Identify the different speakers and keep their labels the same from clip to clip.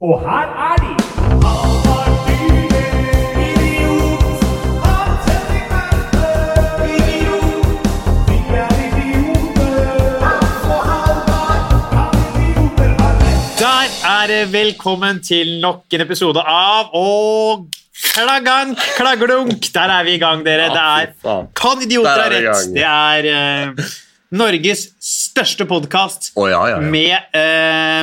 Speaker 1: Og her er de!
Speaker 2: Der er det velkommen til nok en episode av Å klagank, klaggelunk! Der er vi i gang, dere. Det
Speaker 3: Ja, fy
Speaker 2: er
Speaker 3: faen.
Speaker 2: Kan idioter ha
Speaker 3: Der er vi i
Speaker 2: rett?
Speaker 3: gang.
Speaker 2: Det er eh, Norges største podkast
Speaker 3: Å, ja, ja, ja.
Speaker 2: med eh,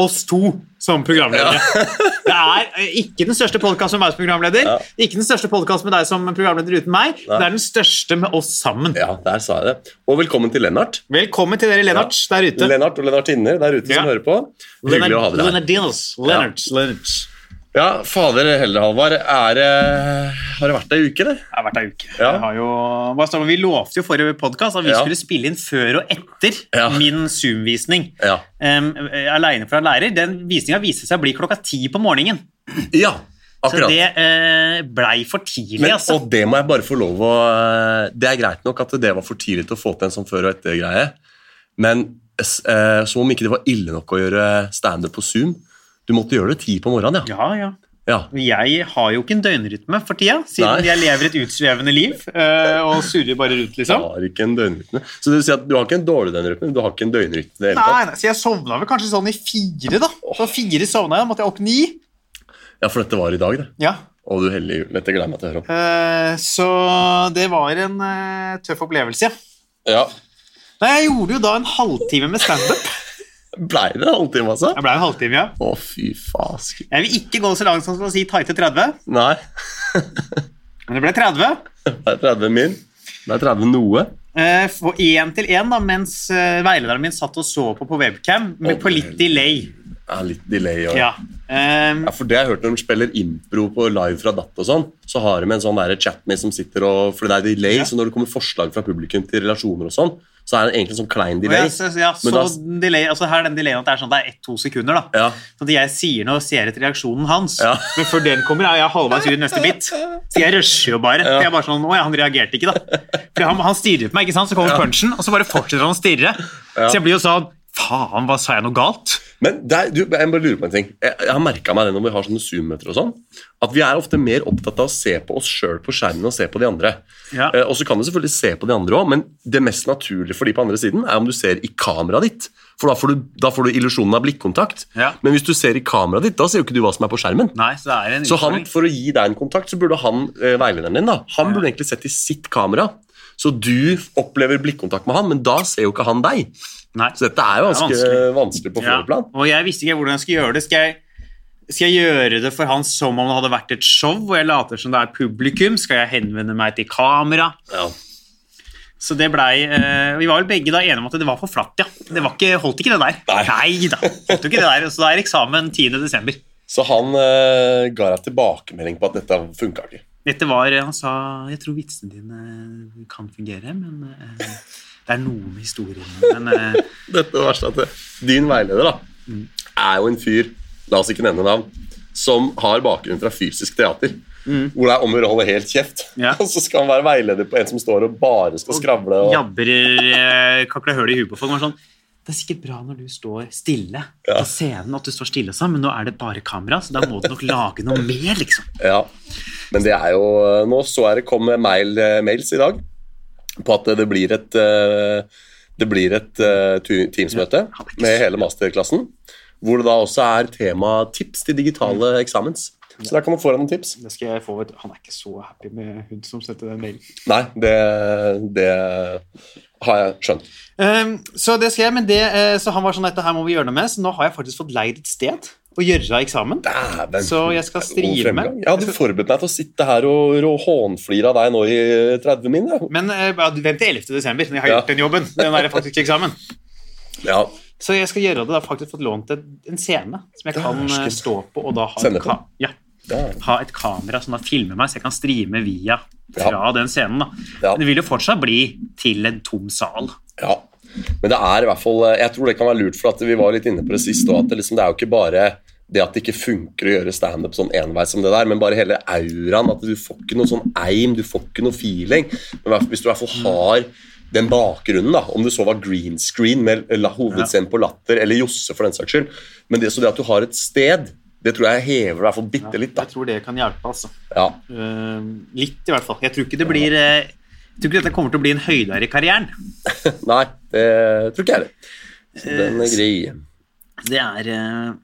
Speaker 2: oss to som programledere. det er eh, ikke den største podkasten med meg som programleder,
Speaker 3: Ja.
Speaker 2: ikke den største podkasten med deg som programleder uten meg, det er den største med oss sammen.
Speaker 3: Ja, der sa jeg det. Og velkommen til Lennart.
Speaker 2: Velkommen til dere, Lennart, der ute.
Speaker 3: Lennart og Lennartinner der ute
Speaker 2: Ja.
Speaker 3: som hører på. Hyggelig å ha dere her.
Speaker 2: Lennart Dinos. Lennart, Lennart.
Speaker 3: Ja, fader heller, Halvard. Er det Har det vært ei uke, det?
Speaker 2: Det har vært ei uke.
Speaker 3: Ja.
Speaker 2: Det har jo, hva står det? vi lovte jo forrige podkast at vi
Speaker 3: Ja.
Speaker 2: skulle spille inn før og etter
Speaker 3: Ja.
Speaker 2: min Zoom-visning.
Speaker 3: Ja.
Speaker 2: Um, Aleine for en lærer. Den visninga viste seg å bli klokka ti på morgenen.
Speaker 3: Ja,
Speaker 2: Så
Speaker 3: akkurat.
Speaker 2: det eh, blei for tidlig,
Speaker 3: Men,
Speaker 2: altså.
Speaker 3: og det må jeg bare få lov å eh, Det er greit nok at det var for tidlig til å få til en sånn før- og etter-greie, men s- eh, som om ikke det var ille nok å gjøre standup på Zoom. Du måtte gjøre det ti på morgenen, ja.
Speaker 2: Ja, ja.
Speaker 3: ja.
Speaker 2: Og Jeg har jo ikke en døgnrytme for tida, siden
Speaker 3: Nei.
Speaker 2: jeg lever et utsvevende liv eh, og surrer bare rundt,
Speaker 3: Du
Speaker 2: liksom.
Speaker 3: har ikke en døgnrytme. Så det vil si at du har ikke en dårlig døgnrytme, men du har ikke en døgnrytme i det hele tatt.
Speaker 2: Nei, nei, Så jeg sovna vel kanskje sånn i fire, da. Så fire sovna jeg, da måtte jeg opp ni.
Speaker 3: Ja, for dette var i dag, det.
Speaker 2: Ja,
Speaker 3: Å, du hellige jul. Dette gleder jeg meg til å høre om.
Speaker 2: Eh, Så det var en eh, tøff opplevelse, ja.
Speaker 3: Ja.
Speaker 2: Nei, Jeg gjorde jo da en halvtime med standup.
Speaker 3: Blei det en halvtime, altså?
Speaker 2: Jeg ble en halvtime, ja.
Speaker 3: Å, fy fask.
Speaker 2: Jeg vil ikke gå så langt som å si tighte 30,
Speaker 3: Nei.
Speaker 2: men det ble 30.
Speaker 3: Det er 30 min. Det er 30 noe.
Speaker 2: Eh, Og én til én, da, mens eh, veilederen min satt og så på på webcam, men
Speaker 3: Å,
Speaker 2: på litt delay.
Speaker 3: Det er litt delay. Og...
Speaker 2: Ja. Ehm,
Speaker 3: Ja, for det har jeg hørt Når de spiller impro på live fra datt, og sånn, så har de en sånn der chat med som sitter og For det er delay,
Speaker 2: Ja.
Speaker 3: så når det kommer forslag fra publikum til relasjoner og sånn, så er det egentlig en sånn klein
Speaker 2: og
Speaker 3: delay.
Speaker 2: jeg, så, ja, så
Speaker 3: Men da-
Speaker 2: delay, altså her er den delayen at det er sånn det er ett-to sekunder. da.
Speaker 3: Ja.
Speaker 2: Sånn at jeg sier noe og ser etter reaksjonen hans.
Speaker 3: Ja.
Speaker 2: Men før den kommer, er jeg halvveis ute i neste bit. Så jeg rusher jo bare. For jeg er bare sånn, «Å ja, Han reagerte ikke, da. For han, han stirrer på meg, ikke sant? så kommer punchen, og så bare fortsetter han å stirre. Så jeg blir jo sånn Faen, hva sa jeg noe galt?
Speaker 3: Men der, du, jeg bare lurer på en ting. Jeg, jeg har merka meg det når vi har sånne Zoom-møter og sånn, at vi er ofte mer opptatt av å se på oss sjøl på skjermen og se på de andre.
Speaker 2: Ja.
Speaker 3: Eh, og så kan du selvfølgelig se på de andre òg, men det mest naturlige for de på andre siden er om du ser i kameraet ditt. For da får du, da får du illusjonen av blikkontakt.
Speaker 2: Ja.
Speaker 3: Men hvis du ser i kameraet ditt, da ser jo ikke du hva som er på skjermen.
Speaker 2: Nei, så det er en
Speaker 3: Så han,
Speaker 2: utfordring.
Speaker 3: for å gi deg en kontakt, så burde han, eh, veilederen din, da, han burde egentlig sett i sitt kamera. Så du opplever blikkontakt med han, men da ser jo ikke han deg.
Speaker 2: Nei.
Speaker 3: Så dette er jo ganske
Speaker 2: vanskelig.
Speaker 3: vanskelig. på
Speaker 2: Ja.
Speaker 3: flere plan.
Speaker 2: Og jeg visste ikke hvordan jeg skulle gjøre det. Skal jeg, skal jeg gjøre det for han som om det hadde vært et show, og jeg later som det er publikum? Skal jeg henvende meg til kamera?
Speaker 3: Ja.
Speaker 2: Så det blei eh, Vi var vel begge da enige om at det var for flatt, ja. Det var ikke, holdt ikke det der.
Speaker 3: Nei.
Speaker 2: da. Holdt jo ikke det der. Så det er eksamen 10. desember.
Speaker 3: Så han eh, ga deg tilbakemelding på at dette funka ikke.
Speaker 2: Dette var eh, Han sa Jeg tror vitsene dine eh, kan fungere, men eh, det er noe med historien Men eh,
Speaker 3: Dette var verst at det, Din veileder da, er jo en fyr, la oss ikke nevne navn, som har bakgrunn fra fysisk teater. Hvor det er om å gjøre å holde helt kjeft.
Speaker 2: Ja.
Speaker 3: Og så skal han være veileder på en som står og bare skal skravle. Og,
Speaker 2: jabber eh, kakler høl i huet på folk. var Sånn, det er sikkert bra når du står stille på scenen, at du står stille og sånn, men nå er det bare kamera, så da må du nok lage noe mer, liksom.
Speaker 3: Ja. Men det er jo eh, Nå så jeg det kom mail, eh, mails i dag på at det blir et eh, det blir et eh, tu- Teams-møte
Speaker 2: Ja, det er ikke
Speaker 3: med
Speaker 2: så-
Speaker 3: hele masterklassen. Hvor det da også er tema tips til digitale eksamens. Så der kan du få deg noen tips.
Speaker 2: Det skal jeg få, vet du. Han er ikke så happy med hun som sendte den mailen.
Speaker 3: Nei, det, det har jeg skjønt.
Speaker 2: Ehm, så det skal jeg, men det, eh, så han var sånn, dette her må vi gjøre noe med, så nå har jeg faktisk fått leid et sted å gjøre av eksamen.
Speaker 3: Dæven.
Speaker 2: Så jeg skal
Speaker 3: God
Speaker 2: strive
Speaker 3: fremgang.
Speaker 2: med.
Speaker 3: Jeg hadde forberedt meg til å sitte her og, og hånflire av deg nå i 30 min. jeg.
Speaker 2: Men eh, ja, du vent til 11. desember, når jeg har
Speaker 3: Ja.
Speaker 2: gjort den jobben. Den er faktisk ikke eksamen.
Speaker 3: Ja.
Speaker 2: Så jeg skal gjøre det, da har jeg faktisk fått lånt en, en scene som jeg kan eh,
Speaker 3: Dæsken.
Speaker 2: stå på, og da ha,
Speaker 3: Sende
Speaker 2: et ka-
Speaker 3: på.
Speaker 2: ja,
Speaker 3: Ja.
Speaker 2: ha et kamera som da filmer meg, så jeg kan streame via fra
Speaker 3: Ja.
Speaker 2: den scenen da.
Speaker 3: Ja.
Speaker 2: Men det vil jo fortsatt bli til en tom sal.
Speaker 3: Ja, men det er i hvert fall eh, Jeg tror det kan være lurt, for at vi var litt inne på det siste også, at det, liksom, det er jo ikke bare det at det ikke funker å gjøre standup sånn enveis som det der, men bare hele auraen. At du får ikke noe sånn eim, du får ikke noe feeling. Men i hvert fall- hvis du i hvert fall har den bakgrunnen, da, om det så var green screen med la- hovedscenen på Latter eller Josse, for den saks skyld. Men det, så det at du har et sted, det tror jeg hever deg for bitte litt. da.
Speaker 2: Jeg tror det kan hjelpe, altså.
Speaker 3: Ja.
Speaker 2: Eh, litt, i hvert fall. Jeg tror ikke det blir eh, Jeg tror ikke dette kommer til å bli en høydere i karrieren.
Speaker 3: Nei, det tror ikke jeg det.
Speaker 2: Eh,
Speaker 3: Så den er grei.
Speaker 2: Det er eh,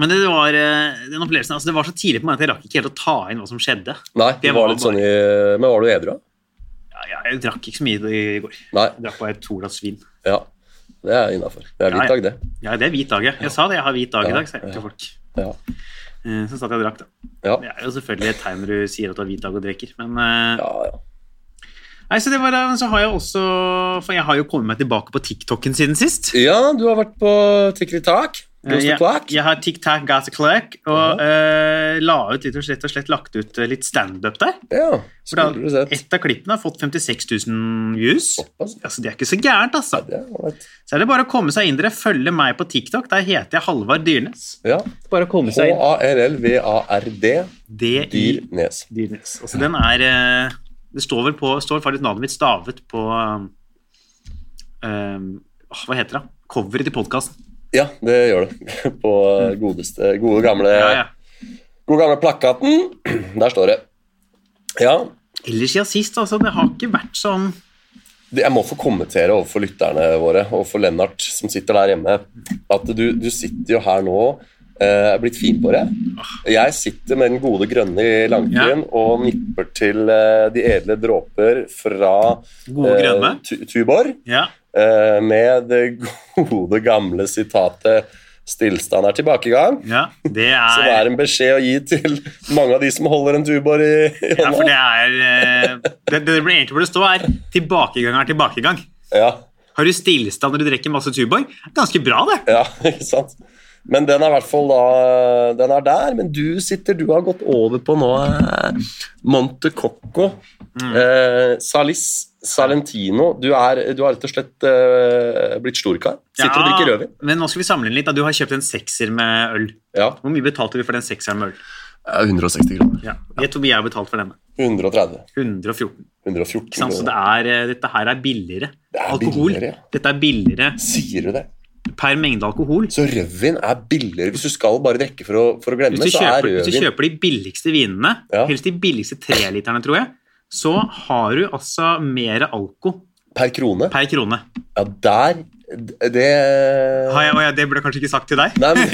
Speaker 2: Men det var eh, den opplevelsen altså Det var så tidlig på meg at jeg rakk ikke helt å ta inn hva som skjedde.
Speaker 3: Nei,
Speaker 2: Det
Speaker 3: det
Speaker 2: var
Speaker 3: var litt sånn i Men var du edru, da?
Speaker 2: Ja, ja, jeg drakk ikke så mye i går.
Speaker 3: Nei.
Speaker 2: Jeg drakk bare to glass vin.
Speaker 3: Ja. Det er innafor. Det
Speaker 2: Ja,
Speaker 3: er
Speaker 2: ja.
Speaker 3: litt dag, det.
Speaker 2: Ja, det er hvit dag, ja. Jeg sa det, jeg har hvit dag i dag, sa jeg til folk.
Speaker 3: Ja.
Speaker 2: Eh, Så satt jeg og drakk, da.
Speaker 3: Ja.
Speaker 2: Det er jo selvfølgelig et tegn når du sier at du har hvit dag og drikker, men eh,
Speaker 3: ja, ja.
Speaker 2: Nei, så det var da, men så har jeg også For jeg har jo kommet meg tilbake på TikToken siden sist.
Speaker 3: ja du har vært på TikTok.
Speaker 2: Eh,
Speaker 3: Ghost
Speaker 2: Jeg,
Speaker 3: of Clark.
Speaker 2: jeg har TikTok Gas a Clerk og eh, la ut litt og slett, og slett lagt ut eh, litt standup der.
Speaker 3: Ja, skulle
Speaker 2: Hvordan,
Speaker 3: du
Speaker 2: Eh.
Speaker 3: sett.
Speaker 2: et av klippene har fått 56 000 views.
Speaker 3: Såpass.
Speaker 2: Altså, det er ikke så gærent, altså.
Speaker 3: Det var litt-
Speaker 2: Så er det bare å komme seg inn dere. Følge meg på TikTok. Der heter jeg Halvard Dyrnes.
Speaker 3: Ja.
Speaker 2: Bare å komme seg inn.
Speaker 3: H-a-l-l-v-a-r-d.
Speaker 2: D-I
Speaker 3: Dyrnes.
Speaker 2: Dyrnes. Altså, den er eh, Det står vel på står faktisk navnet mitt stavet på ehm, åh, Hva heter det? Coveret til podkasten.
Speaker 3: Ja, det gjør det. På eh, godeste, gode gamle,
Speaker 2: Ja, ja.
Speaker 3: gode gamle plakaten. Der står det. Ja,
Speaker 2: Ellers siden sist, altså. Det har ikke vært sånn
Speaker 3: det, jeg må få kommentere overfor lytterne våre og for Lennart som sitter der hjemme, at du, du sitter jo her nå eh, er blitt fin på det. Jeg sitter med den gode grønne i langtiden og nipper til eh, de edle dråper fra eh,
Speaker 2: gode grønne.
Speaker 3: Tu- Tuborg.
Speaker 2: Ja.
Speaker 3: eh, med det gode gamle sitatet 'Stillstand er tilbakegang',
Speaker 2: ja. Det
Speaker 3: som er
Speaker 2: er
Speaker 3: en beskjed å gi til mange av de som holder en tubor i, i
Speaker 2: ja, for
Speaker 3: hånda.
Speaker 2: det er eh, Det, det blir egentlig hvor det står, er 'tilbakegang er tilbakegang'.
Speaker 3: Ja,
Speaker 2: Har du stillstand når du drikker masse Tuborg? Ganske bra, det.
Speaker 3: ja, ikke sant? Men den er i hvert fall da Den er der, men du sitter Du har gått over på nå eh, Monte Cocco,
Speaker 2: Mm.
Speaker 3: eh, Salis, Salentino Du, er, du har rett og slett eh, blitt storkar. Sitter og drikker rødvin.
Speaker 2: Men nå skal vi samle inn litt. Da. Du har kjøpt en sekser med øl.
Speaker 3: Ja.
Speaker 2: Hvor mye betalte du for den sekseren med øl?
Speaker 3: 160 kroner.
Speaker 2: Ja. Gjett hvor mye jeg har betalt for denne.
Speaker 3: 130.
Speaker 2: 114.
Speaker 3: 114
Speaker 2: Ikke sant? Så det
Speaker 3: kroner.
Speaker 2: er, eh, dette her er billigere.
Speaker 3: Det er
Speaker 2: alkohol.
Speaker 3: billigere, ja.
Speaker 2: Dette er billigere
Speaker 3: Sier du det?
Speaker 2: per mengde alkohol.
Speaker 3: Så rødvin er billigere hvis du skal bare drikke for å, for å glemme,
Speaker 2: Hvis du,
Speaker 3: så er
Speaker 2: kjøper, hvis du
Speaker 3: rødvin
Speaker 2: kjøper de billigste vinene,
Speaker 3: Ja.
Speaker 2: helst de billigste treliterne, tror jeg, så har du altså mer alko
Speaker 3: per krone.
Speaker 2: per krone.
Speaker 3: Ja, der d- Det
Speaker 2: Har jeg, å ja, det ble kanskje ikke sagt til deg?
Speaker 3: Nei, men,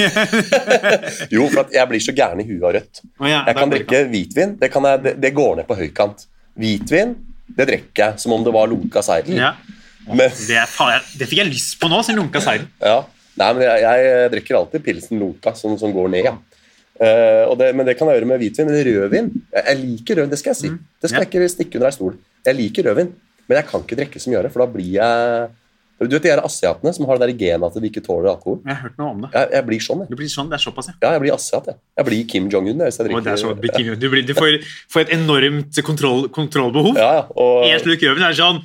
Speaker 3: jo, for at jeg blir så gæren i huet av rødt.
Speaker 2: Å ja,
Speaker 3: Jeg
Speaker 2: da
Speaker 3: kan
Speaker 2: blir det
Speaker 3: drikke hvitvin. Det, kan jeg, det, det går ned på høykant. Hvitvin, det drikker jeg som om det var lunka seidel.
Speaker 2: Ja.
Speaker 3: Men,
Speaker 2: Det, er, faen, jeg- det fikk jeg lyst på nå, siden Lunka Seiden.
Speaker 3: ja. Nei, men jeg, jeg drikker alltid pilsen lunka, som, som går ned, ja. Eh, og det, men det kan jeg gjøre med hvitvin. Men rødvin jeg, jeg liker rødvin, det skal jeg
Speaker 2: Mm.
Speaker 3: si. Det skal jeg ikke stikke under ei stol. Jeg liker rødvin, men jeg kan ikke drikke så mye av det, for da blir jeg Du vet de her asiatene som har det der genet at de ikke tåler alkohol?
Speaker 2: Jeg har hørt noe om det.
Speaker 3: Jeg, jeg blir sånn, jeg.
Speaker 2: Det blir sånn, det er såpass, ja.
Speaker 3: Ja, jeg blir asiat, jeg. Jeg blir Kim Jong-un jeg, hvis
Speaker 2: Å, det
Speaker 3: jeg drikker
Speaker 2: er så, bikini- du, blir, du får, får et enormt kontroll, kontrollbehov.
Speaker 3: Ja, ja.
Speaker 2: En
Speaker 3: Og,
Speaker 2: slurk rødvin er sånn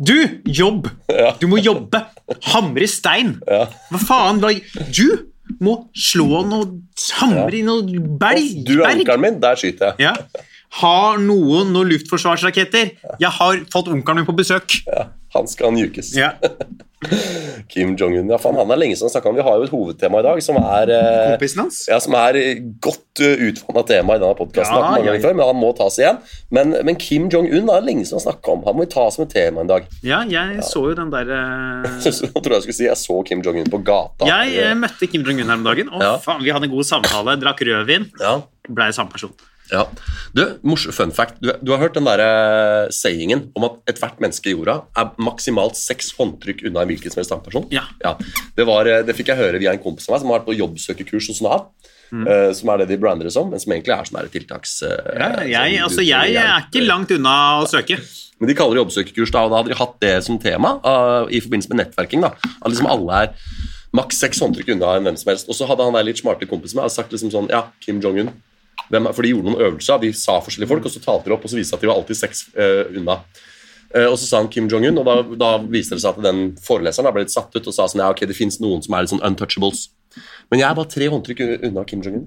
Speaker 2: Du, jobb! Du må jobbe! Hamre stein!
Speaker 3: ja.
Speaker 2: Hva faen? hva- Du må slå noe Hamre i noe berg!
Speaker 3: Du er
Speaker 2: berg.
Speaker 3: ankelen min, der skyter jeg.
Speaker 2: Ja. Har noen noen luftforsvarsraketter? Jeg har fått onkelen min på besøk.
Speaker 3: Ja. Han skal njukes.
Speaker 2: Ja.
Speaker 3: Kim Jong-un. Ja, faen, han er lenge siden snakka om Vi har jo et hovedtema i dag som er eh,
Speaker 2: Kompisen hans?
Speaker 3: ja, som er eh, godt eh, utvanna tema i denne podkasten.
Speaker 2: Ja, ja, ja.
Speaker 3: Men han må tas igjen. Men, men Kim Jong-un er det lenge siden han snakka om. Han må vi ta som et tema en dag.
Speaker 2: Ja, jeg så jo den derre
Speaker 3: Så, så, jeg tror jeg skulle si jeg så Kim Jong-un på gata.
Speaker 2: Jeg eh, møtte Kim Jong-un her om dagen. Å,
Speaker 3: Ja.
Speaker 2: faen, vi hadde en god samtale, drakk rødvin,
Speaker 3: ja.
Speaker 2: blei samme person.
Speaker 3: Ja. Du, mors- fun fact. Du, du har hørt den derre sayingen om at ethvert menneske i jorda er maksimalt seks håndtrykk unna en hvilken som helst annen person?
Speaker 2: Ja.
Speaker 3: Det, var, eh, det fikk jeg høre via en kompis av meg som har vært på jobbsøkerkurs hos Nav.
Speaker 2: Mm.
Speaker 3: eh, som er det de brander det som, men som egentlig er sånn her tiltaks... eh,
Speaker 2: Ja, jeg,
Speaker 3: sånn
Speaker 2: altså, jeg er ikke langt unna å søke.
Speaker 3: men de kaller det jobbsøkerkurs, da, og da hadde de hatt det som tema ah, i forbindelse med nettverking. da, At liksom alle er maks seks håndtrykk unna en hvem som helst. Og så hadde han der litt smarte kompisen med og sagt liksom sånn Ja, Kim Jong-un. Hvem er- For de gjorde noen øvelser, de sa forskjellige folk, og så talte de opp, og så viste det seg at de var alltid seks eh, unna. Eh, og så sa han Kim Jong-un, og da, da viste det seg at den foreleseren da ble litt satt ut og sa sånn Ja, ok, det fins noen som er litt sånn untouchables. Men jeg er bare tre håndtrykk unna Kim Jong-un.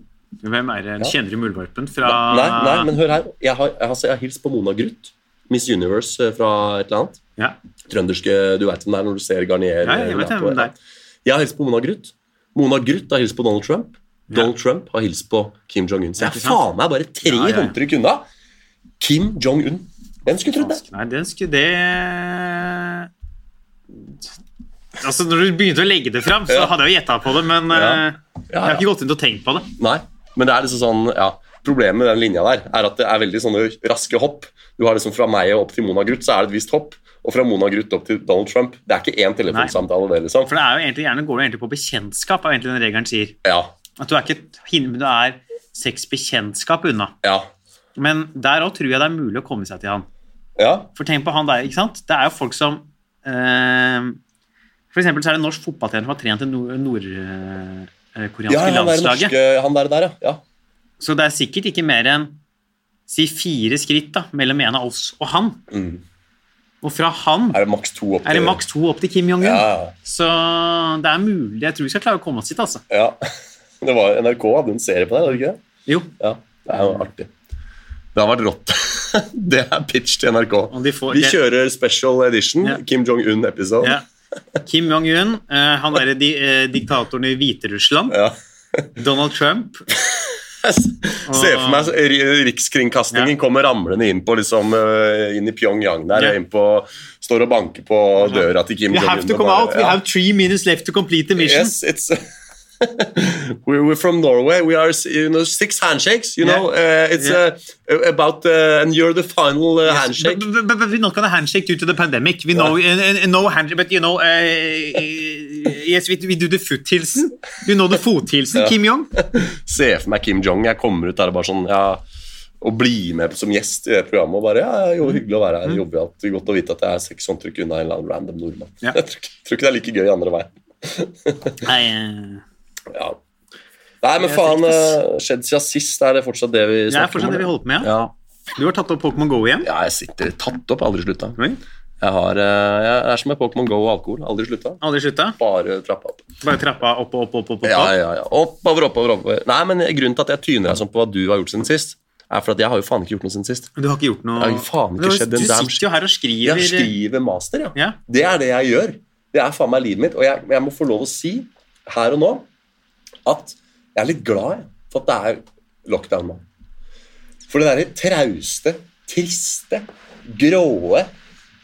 Speaker 2: Hvem er det? Kjenner du muldvarpen fra
Speaker 3: Nei, nei, men hør her. Jeg har, jeg har, jeg har hilst på Mona Gruth. Miss Universe eh, fra et eller annet.
Speaker 2: Ja.
Speaker 3: Trønderske Du veit hvem det er når du ser Garnier.
Speaker 2: Ja, jeg vet
Speaker 3: eh,
Speaker 2: hvem det er.
Speaker 3: Lato. Jeg har hilst på Mona Gruth. Mona Gruth har hilst på Donald Trump. Donald Trump har hilst på Kim Jong-un. Så
Speaker 2: Ja,
Speaker 3: jeg
Speaker 2: ikke
Speaker 3: er
Speaker 2: sant?
Speaker 3: faen meg bare tre
Speaker 2: Ja, ja, ja.
Speaker 3: håndtrykk unna Kim Jong-un. Hvem skulle trodd det?
Speaker 2: Nei, den skulle det Altså, når du begynte å legge det fram, så
Speaker 3: Ja.
Speaker 2: hadde jeg jo gjetta på det, men
Speaker 3: Ja.
Speaker 2: eh, jeg
Speaker 3: Ja,
Speaker 2: har
Speaker 3: ja.
Speaker 2: ikke gått inn og tenkt på det.
Speaker 3: Nei, men det er liksom sånn ja, Problemet med den linja der er at det er veldig sånne raske hopp. Du har liksom Fra meg og opp til Mona Gruth så er det et visst hopp. Og fra Mona Gruth opp til Donald Trump Det er ikke én telefonsamtale. det liksom
Speaker 2: For det er jo egentlig, gjerne går det egentlig på bekjentskap, er jo egentlig den regelen sier.
Speaker 3: Ja,
Speaker 2: At du er ikke et hin- men du er seks bekjentskap unna.
Speaker 3: ja,
Speaker 2: Men der òg tror jeg det er mulig å komme seg til han.
Speaker 3: ja,
Speaker 2: For tenk på han der, ikke sant? Det er jo folk som eh, For eksempel så er det en norsk fotballtrener som har trent det nor- nordkoreanske
Speaker 3: ja han, der
Speaker 2: landslaget.
Speaker 3: norske, han der, der, ja. ja.
Speaker 2: Så det er sikkert ikke mer enn si fire skritt da, mellom en av oss og han.
Speaker 3: Mm.
Speaker 2: Og fra han
Speaker 3: Er det maks to opp
Speaker 2: er det maks to opp til Kim Jong-un.
Speaker 3: Ja, ja,
Speaker 2: Så det er mulig. Jeg tror vi skal klare å komme oss dit, altså.
Speaker 3: ja. Det var NRK hadde en serie på det, hadde de ikke det?
Speaker 2: Jo,
Speaker 3: Ja, Det er jo artig. Det har vært rått. det er pitch til NRK.
Speaker 2: om de får
Speaker 3: Vi kjører special edition,
Speaker 2: Ja.
Speaker 3: Kim Jong-un-episode.
Speaker 2: Ja. Kim Jong-un, eh, han derre di, eh, diktatoren i Hviterussland.
Speaker 3: Ja.
Speaker 2: Donald Trump.
Speaker 3: Jeg ser for meg så- ri- Rikskringkastingen
Speaker 2: Ja.
Speaker 3: kommer ramlende inn på liksom, øh, inn i Pyongyang der.
Speaker 2: Ja.
Speaker 3: og Inn på, står og banker på døra til Kim
Speaker 2: We have to
Speaker 3: og
Speaker 2: come
Speaker 3: bare-
Speaker 2: out. We
Speaker 3: ja.
Speaker 2: have three minutes left to complete the mission.
Speaker 3: Yes, it's we're, we're from Norway. We are you know, six handshakes. You
Speaker 2: Yeah.
Speaker 3: know, uh, it's
Speaker 2: Yeah.
Speaker 3: uh, about uh, and you're the final uh, handshake.
Speaker 2: But, but, but, but we're not gonna handshake due to the pandemic. We know uh, uh, no handshake, but you know, uh, uh, yes, we, we do the foot hilsen. You know the foot hilsen, Kim Jong.
Speaker 3: Se for meg Kim Jong. Jeg kommer ut der og bare sånn ja, og bli med som gjest i det programmet. Og bare, ja, jo, Hyggelig å
Speaker 2: Mm.
Speaker 3: være her. Jobber jeg alltid godt å vite at jeg er seks håndtrykk unna en eller annen random nordmann.
Speaker 2: Ja.
Speaker 3: Jeg tror, ikke- tror ikke det er like gøy andre veien.
Speaker 2: Nei, eh,
Speaker 3: Ja. Nei, men
Speaker 2: Jeg
Speaker 3: faen,
Speaker 2: tenkte-
Speaker 3: eh, skjedd siden sist. Er det fortsatt det vi
Speaker 2: eh, det er
Speaker 3: snakker
Speaker 2: fortsatt det vi
Speaker 3: om?
Speaker 2: holder på med. Ja.
Speaker 3: Ja.
Speaker 2: Du har tatt opp Pokémon GO igjen.
Speaker 3: ja, jeg sitter tatt opp. Aldri slutta.
Speaker 2: Oi,
Speaker 3: Jeg, har, eh, jeg er som med Pokémon Go og alkohol. Aldri slutta.
Speaker 2: Aldri slutta.
Speaker 3: Bare trappa opp.
Speaker 2: Bare trappa opp og opp og opp. opp, opp.
Speaker 3: Ja, ja, ja. Oppover, oppover, oppover. Nei, men Grunnen til at jeg tyner deg sånn på hva du har gjort siden sist, er for at jeg har jo faen ikke gjort noe siden sist.
Speaker 2: Du har ikke gjort noe
Speaker 3: Det har jo faen ikke
Speaker 2: Du-
Speaker 3: skjedd en
Speaker 2: Du
Speaker 3: damn
Speaker 2: sitter jo her og skriver.
Speaker 3: Jeg skriver master, ja.
Speaker 2: Ja.
Speaker 3: Det er det jeg gjør. Det er faen meg livet mitt. Og jeg, jeg må få lov å si her og nå at jeg er litt glad jeg, for at det er lockdown nå. For det derre trauste, triste, gråe,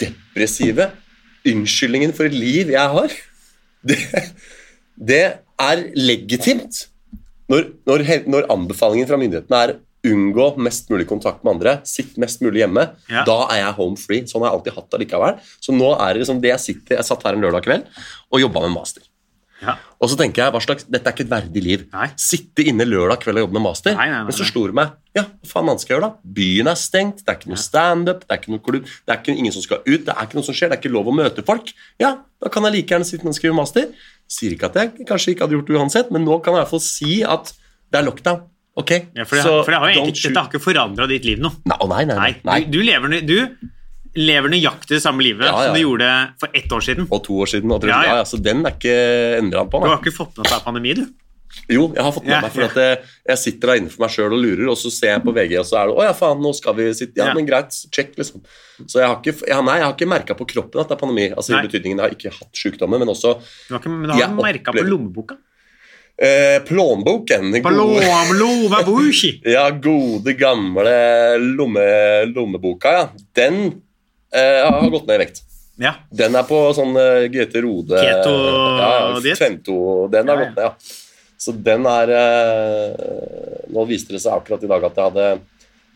Speaker 3: depressive unnskyldningen for et liv jeg har, det, det er legitimt. Når, når, he- når anbefalingen fra myndighetene er unngå mest mulig kontakt med andre, sitt mest mulig hjemme,
Speaker 2: Ja.
Speaker 3: da er jeg home free. Sånn har jeg alltid hatt det likevel. Så nå er det liksom det jeg sitter Jeg satt her en lørdag kveld og jobba med master.
Speaker 2: Ja.
Speaker 3: Og så tenker jeg, hva slags, Dette er ikke et verdig liv.
Speaker 2: Nei.
Speaker 3: Sitte inne lørdag kveld og jobbe med master.
Speaker 2: Nei, nei, nei,
Speaker 3: men så
Speaker 2: nei.
Speaker 3: slo det meg ja, hva faen annet skal jeg gjøre da? Byen er stengt, det er ikke noe standup, det er ikke noe klubb, det er ikke ingen som skal ut, det er ikke noe som skjer, det er ikke lov å møte folk. Ja, Da kan jeg like gjerne sitte og skrive master. Sier ikke at jeg kanskje ikke hadde gjort det uansett, men nå kan jeg i hvert fall si at det er lockdown. Ok?
Speaker 2: Ja, for det,
Speaker 3: Så
Speaker 2: for det har jo egentlig,
Speaker 3: don't
Speaker 2: dette har ikke forandra ditt liv noe.
Speaker 3: shoot- Nei, å, nei, nei,
Speaker 2: Nei,
Speaker 3: nei, nei.
Speaker 2: Du, du, lever, nø- du lever nøyaktig det samme livet
Speaker 3: Ja, ja,
Speaker 2: som du
Speaker 3: ja.
Speaker 2: gjorde for ett år siden.
Speaker 3: Og to år siden. Og tre,
Speaker 2: Ja,
Speaker 3: ja,
Speaker 2: ja.
Speaker 3: ja. så den er ikke endra på.
Speaker 2: Du
Speaker 3: Nei.
Speaker 2: har ikke fått med deg at det er pandemi, du.
Speaker 3: Jo, jeg har fått med
Speaker 2: Ja,
Speaker 3: meg, for at jeg, jeg sitter der inne for meg sjøl og lurer, og så ser jeg på VG, og så er det 'Å ja, faen, nå skal vi sitte Ja,
Speaker 2: Ja.
Speaker 3: men greit, check', liksom. Så jeg har ikke, ja, nei, jeg har ikke merka på kroppen at det er pandemi. Altså
Speaker 2: Nei.
Speaker 3: i betydningen, jeg har ikke hatt sykdommen, men også
Speaker 2: Du har ikke, men du har
Speaker 3: Jeg
Speaker 2: merket merka på
Speaker 3: opplever-
Speaker 2: lommeboka.
Speaker 3: eh, plånboken. den
Speaker 2: På
Speaker 3: gode-
Speaker 2: lommeboka.
Speaker 3: Ja, gode gamle lomme, lommeboka, ja. Den eh, har gått ned i vekt.
Speaker 2: Ja.
Speaker 3: Den er på sånn eh, GT Rode
Speaker 2: Keto-
Speaker 3: ja,
Speaker 2: diet?
Speaker 3: Fento, Den har
Speaker 2: Ja, ja.
Speaker 3: gått ned, ja. Så den er eh, Nå viste det seg akkurat i dag at jeg hadde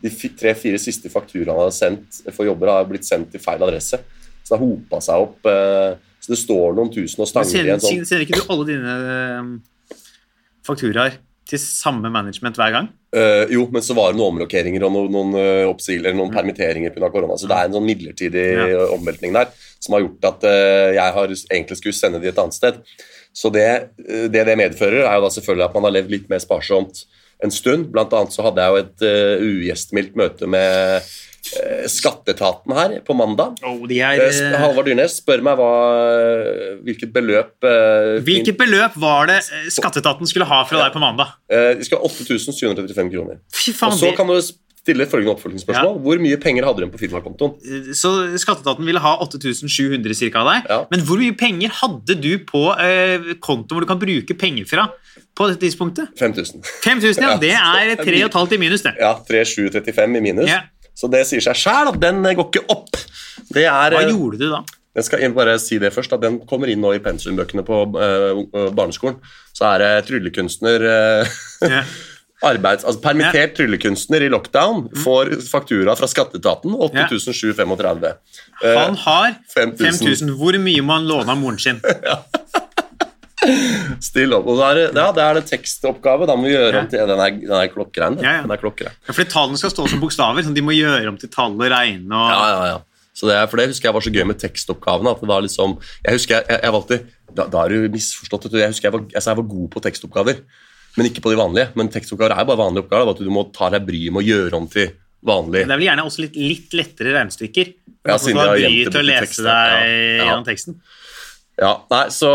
Speaker 3: de tre-fire siste fakturaene jeg hadde sendt for jobber, har blitt sendt til feil adresse. Så det har hopa seg opp. eh, så det står noen tusen og
Speaker 2: Men
Speaker 3: stanger i
Speaker 2: Sender,
Speaker 3: en sånn
Speaker 2: sender ikke du alle dine eh, fakturaer til samme management hver gang?
Speaker 3: Eh, Jo, men så var det noen omrokeringer og noen, noen eh, oppsigel- eller noen permitteringer pga. korona. Så det er en sånn midlertidig
Speaker 2: Mm. Ja.
Speaker 3: eh, omveltning der som har gjort at eh, jeg har egentlig skulle sende de et annet sted. Så det, eh, det det medfører, er jo da selvfølgelig at man har levd litt mer sparsomt en stund. Blant annet så hadde jeg jo et eh, ugjestmildt møte med eh, skatteetaten her på mandag.
Speaker 2: Oh, de er,
Speaker 3: Eh, sp-
Speaker 2: eh,
Speaker 3: Halvard Dyrnes spør meg hva, hvilket beløp eh,
Speaker 2: hvilket beløp var det eh, skatteetaten skulle ha fra deg på mandag?
Speaker 3: eh, De skal ha 8735 kroner.
Speaker 2: Fy
Speaker 3: Og
Speaker 2: faen,
Speaker 3: så
Speaker 2: det,
Speaker 3: kan du s- stiller følgende oppfølgingsspørsmål. Hvor mye penger hadde de på firmakontoen?
Speaker 2: eh, Så skatteetaten ville ha 8700 cirka av deg.
Speaker 3: Ja.
Speaker 2: Men hvor mye penger hadde du på eh, kontoen hvor du kan bruke penger fra på dette tidspunktet?
Speaker 3: 5000.
Speaker 2: 5000, ja. Det er 3,5 i minus, det.
Speaker 3: Ja, 3735 i minus.
Speaker 2: Ja.
Speaker 3: Så det sier seg sjæl at den eh, går ikke opp. Det er,
Speaker 2: Hva
Speaker 3: eh,
Speaker 2: gjorde du da?
Speaker 3: den skal jeg vil bare si det først, at den kommer inn nå i pensumbøkene på eh, barneskolen. Så er det tryllekunstner eh,
Speaker 2: Ja.
Speaker 3: arbeids, altså Permittert tryllekunstner i lockdown
Speaker 2: Mm.
Speaker 3: får faktura fra skatteetaten. 8735. Eh,
Speaker 2: Han har
Speaker 3: 5000.
Speaker 2: 5000. Hvor mye må han låne av moren sin?
Speaker 3: Still opp. Og da er det, ja, det er det tekstoppgave. Da må vi gjøre om til den er, den er klokkeren.
Speaker 2: Ja, ja.
Speaker 3: Den er klokkeren.
Speaker 2: Ja, fordi tallene skal stå som bokstaver, sånn de må gjøre om til tall og regne og
Speaker 3: Ja, ja, ja. Så det, er- for det husker jeg var så gøy med tekstoppgavene. at det var liksom, Jeg husker jeg, jeg, jeg valgte da, da er du misforstått. vet du. Jeg husker jeg var, jeg, sa jeg var god på tekstoppgaver, men ikke på de vanlige. Men tekstoppgaver er jo bare vanlige oppgaver. bare at Du må ta deg bryet med å gjøre om til vanlig.
Speaker 2: Det er vel gjerne også litt, litt lettere regnestykker.
Speaker 3: Ja,
Speaker 2: At
Speaker 3: siden
Speaker 2: du har
Speaker 3: de har gjemt
Speaker 2: bryet til
Speaker 3: det
Speaker 2: å
Speaker 3: bort i
Speaker 2: lese
Speaker 3: teksten.
Speaker 2: deg
Speaker 3: Ja, ja.
Speaker 2: gjennom teksten.
Speaker 3: Ja, nei, så,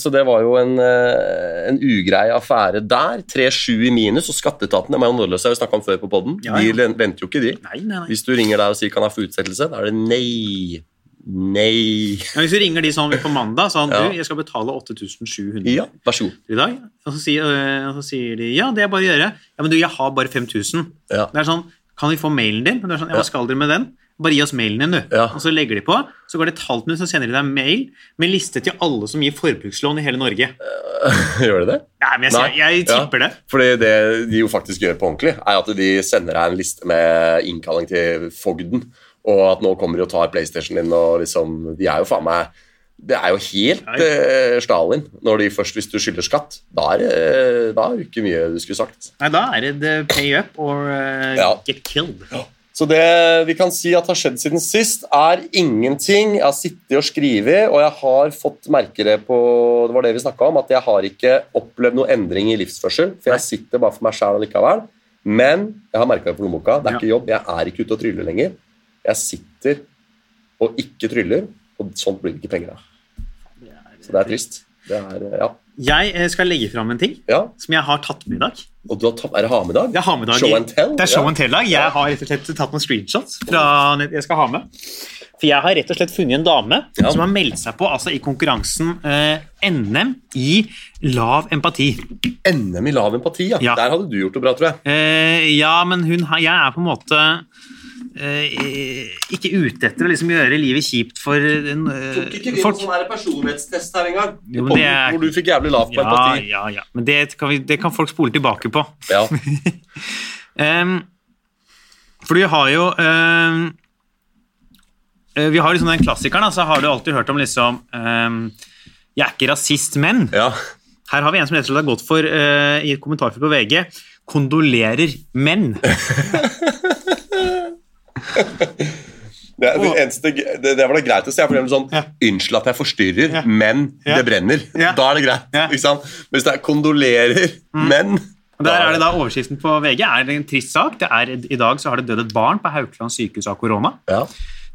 Speaker 3: så det var jo en, eh, en ugrei affære der. 3-7 i minus, og skatteetaten de er jo nådeløse, har vi snakka om før på poden.
Speaker 2: Ja, ja.
Speaker 3: De len- venter jo ikke, de.
Speaker 2: Nei, nei, nei.
Speaker 3: Hvis du ringer der og sier 'kan jeg få utsettelse', da er det nei. Nei.
Speaker 2: Ja, hvis du ringer de sånn på mandag sånn,
Speaker 3: Ja.
Speaker 2: du, jeg skal betale 8700
Speaker 3: Ja, vær så god.
Speaker 2: i dag, og så, sier, øh, og så sier de ja, det er bare å gjøre. Ja, men du, jeg har bare 5000.
Speaker 3: Ja.
Speaker 2: Det er sånn, kan vi få mailen din? Og du er sånn, ja,
Speaker 3: Ja.
Speaker 2: hva skal dere med den? Bare gi oss mailen din, du.
Speaker 3: Ja.
Speaker 2: Og så legger de på, så går det et halvt minutt, så sender de deg mail med liste til alle som gir forbrukslån i hele Norge.
Speaker 3: Gjør de det?
Speaker 2: Nei, men jeg, sier-
Speaker 3: Nei,
Speaker 2: jeg tipper det.
Speaker 3: Fordi det de jo faktisk gjør på ordentlig, er at de sender deg en liste med innkalling til fogden, og at nå kommer de og tar PlayStation din, og liksom De er jo faen meg Det er jo helt
Speaker 2: Nei.
Speaker 3: eh, Stalin når de først Hvis du skylder skatt, da er det eh, da er det ikke mye du skulle sagt.
Speaker 2: Nei, da er det the pay up or øh,
Speaker 3: Ja.
Speaker 2: get killed.
Speaker 3: Så det vi kan si at har skjedd siden sist, er ingenting. Jeg har sittet og skrevet, og jeg har fått merke det på Det var det vi snakka om, at jeg har ikke opplevd noen endring i livsførsel. For jeg sitter bare for meg sjæl allikevel. Men jeg har merka det på lommeboka. Det er
Speaker 2: Ja.
Speaker 3: ikke jobb. Jeg er ikke ute og tryller lenger. Jeg sitter og ikke tryller, og sånt blir det ikke penger av. Så det er trist. Det er, ja.
Speaker 2: Jeg eh, skal legge fram en ting
Speaker 3: ja.
Speaker 2: som jeg har tatt med i dag.
Speaker 3: Og du har tatt, er det ha med i dag?
Speaker 2: Det er ha med dag.
Speaker 3: Show and tell?
Speaker 2: Det er show
Speaker 3: Ja.
Speaker 2: and tell dag. Jeg har rett og slett tatt noen screenshots fra nett jeg skal ha med. For jeg har rett og slett funnet en dame
Speaker 3: Ja.
Speaker 2: som har meldt seg på altså i konkurransen eh, NM i lav empati.
Speaker 3: NM i lav empati, ja.
Speaker 2: Ja.
Speaker 3: Der hadde du gjort det bra, tror jeg.
Speaker 2: Eh, ja, men hun har Jeg er på en måte eh, ikke ute etter å liksom gjøre livet kjipt for eh, folk.
Speaker 3: sånn personlighetstest her engang.
Speaker 2: Jo, men det er-
Speaker 3: Hvor du fikk jævlig lav på
Speaker 2: Ja,
Speaker 3: empati.
Speaker 2: ja, ja. Men det kan, vi, det kan folk spole tilbake på.
Speaker 3: Ja.
Speaker 2: Ehm, for du har jo ehm, eh, Vi har liksom den klassikeren, da, så har du alltid hørt om liksom ehm, Jeg er ikke rasist, men
Speaker 3: ja.
Speaker 2: Her har vi en som rett og slett har gått for eh, i et kommentarfelt på VG. Kondolerer menn.
Speaker 3: Det, er det, eneste, det, det var det greit å si. For det er sånn,
Speaker 2: Ja.
Speaker 3: Unnskyld at jeg forstyrrer,
Speaker 2: Ja.
Speaker 3: men
Speaker 2: Ja.
Speaker 3: det brenner.
Speaker 2: Ja.
Speaker 3: Da er det greit.
Speaker 2: Ja.
Speaker 3: Ikke sant? Men hvis det er kondolerer, men
Speaker 2: Og Der er det da Overskriften på VG er en trist sak. Det er, I dag så har det dødd et barn på Haukeland sykehus av korona.
Speaker 3: ja.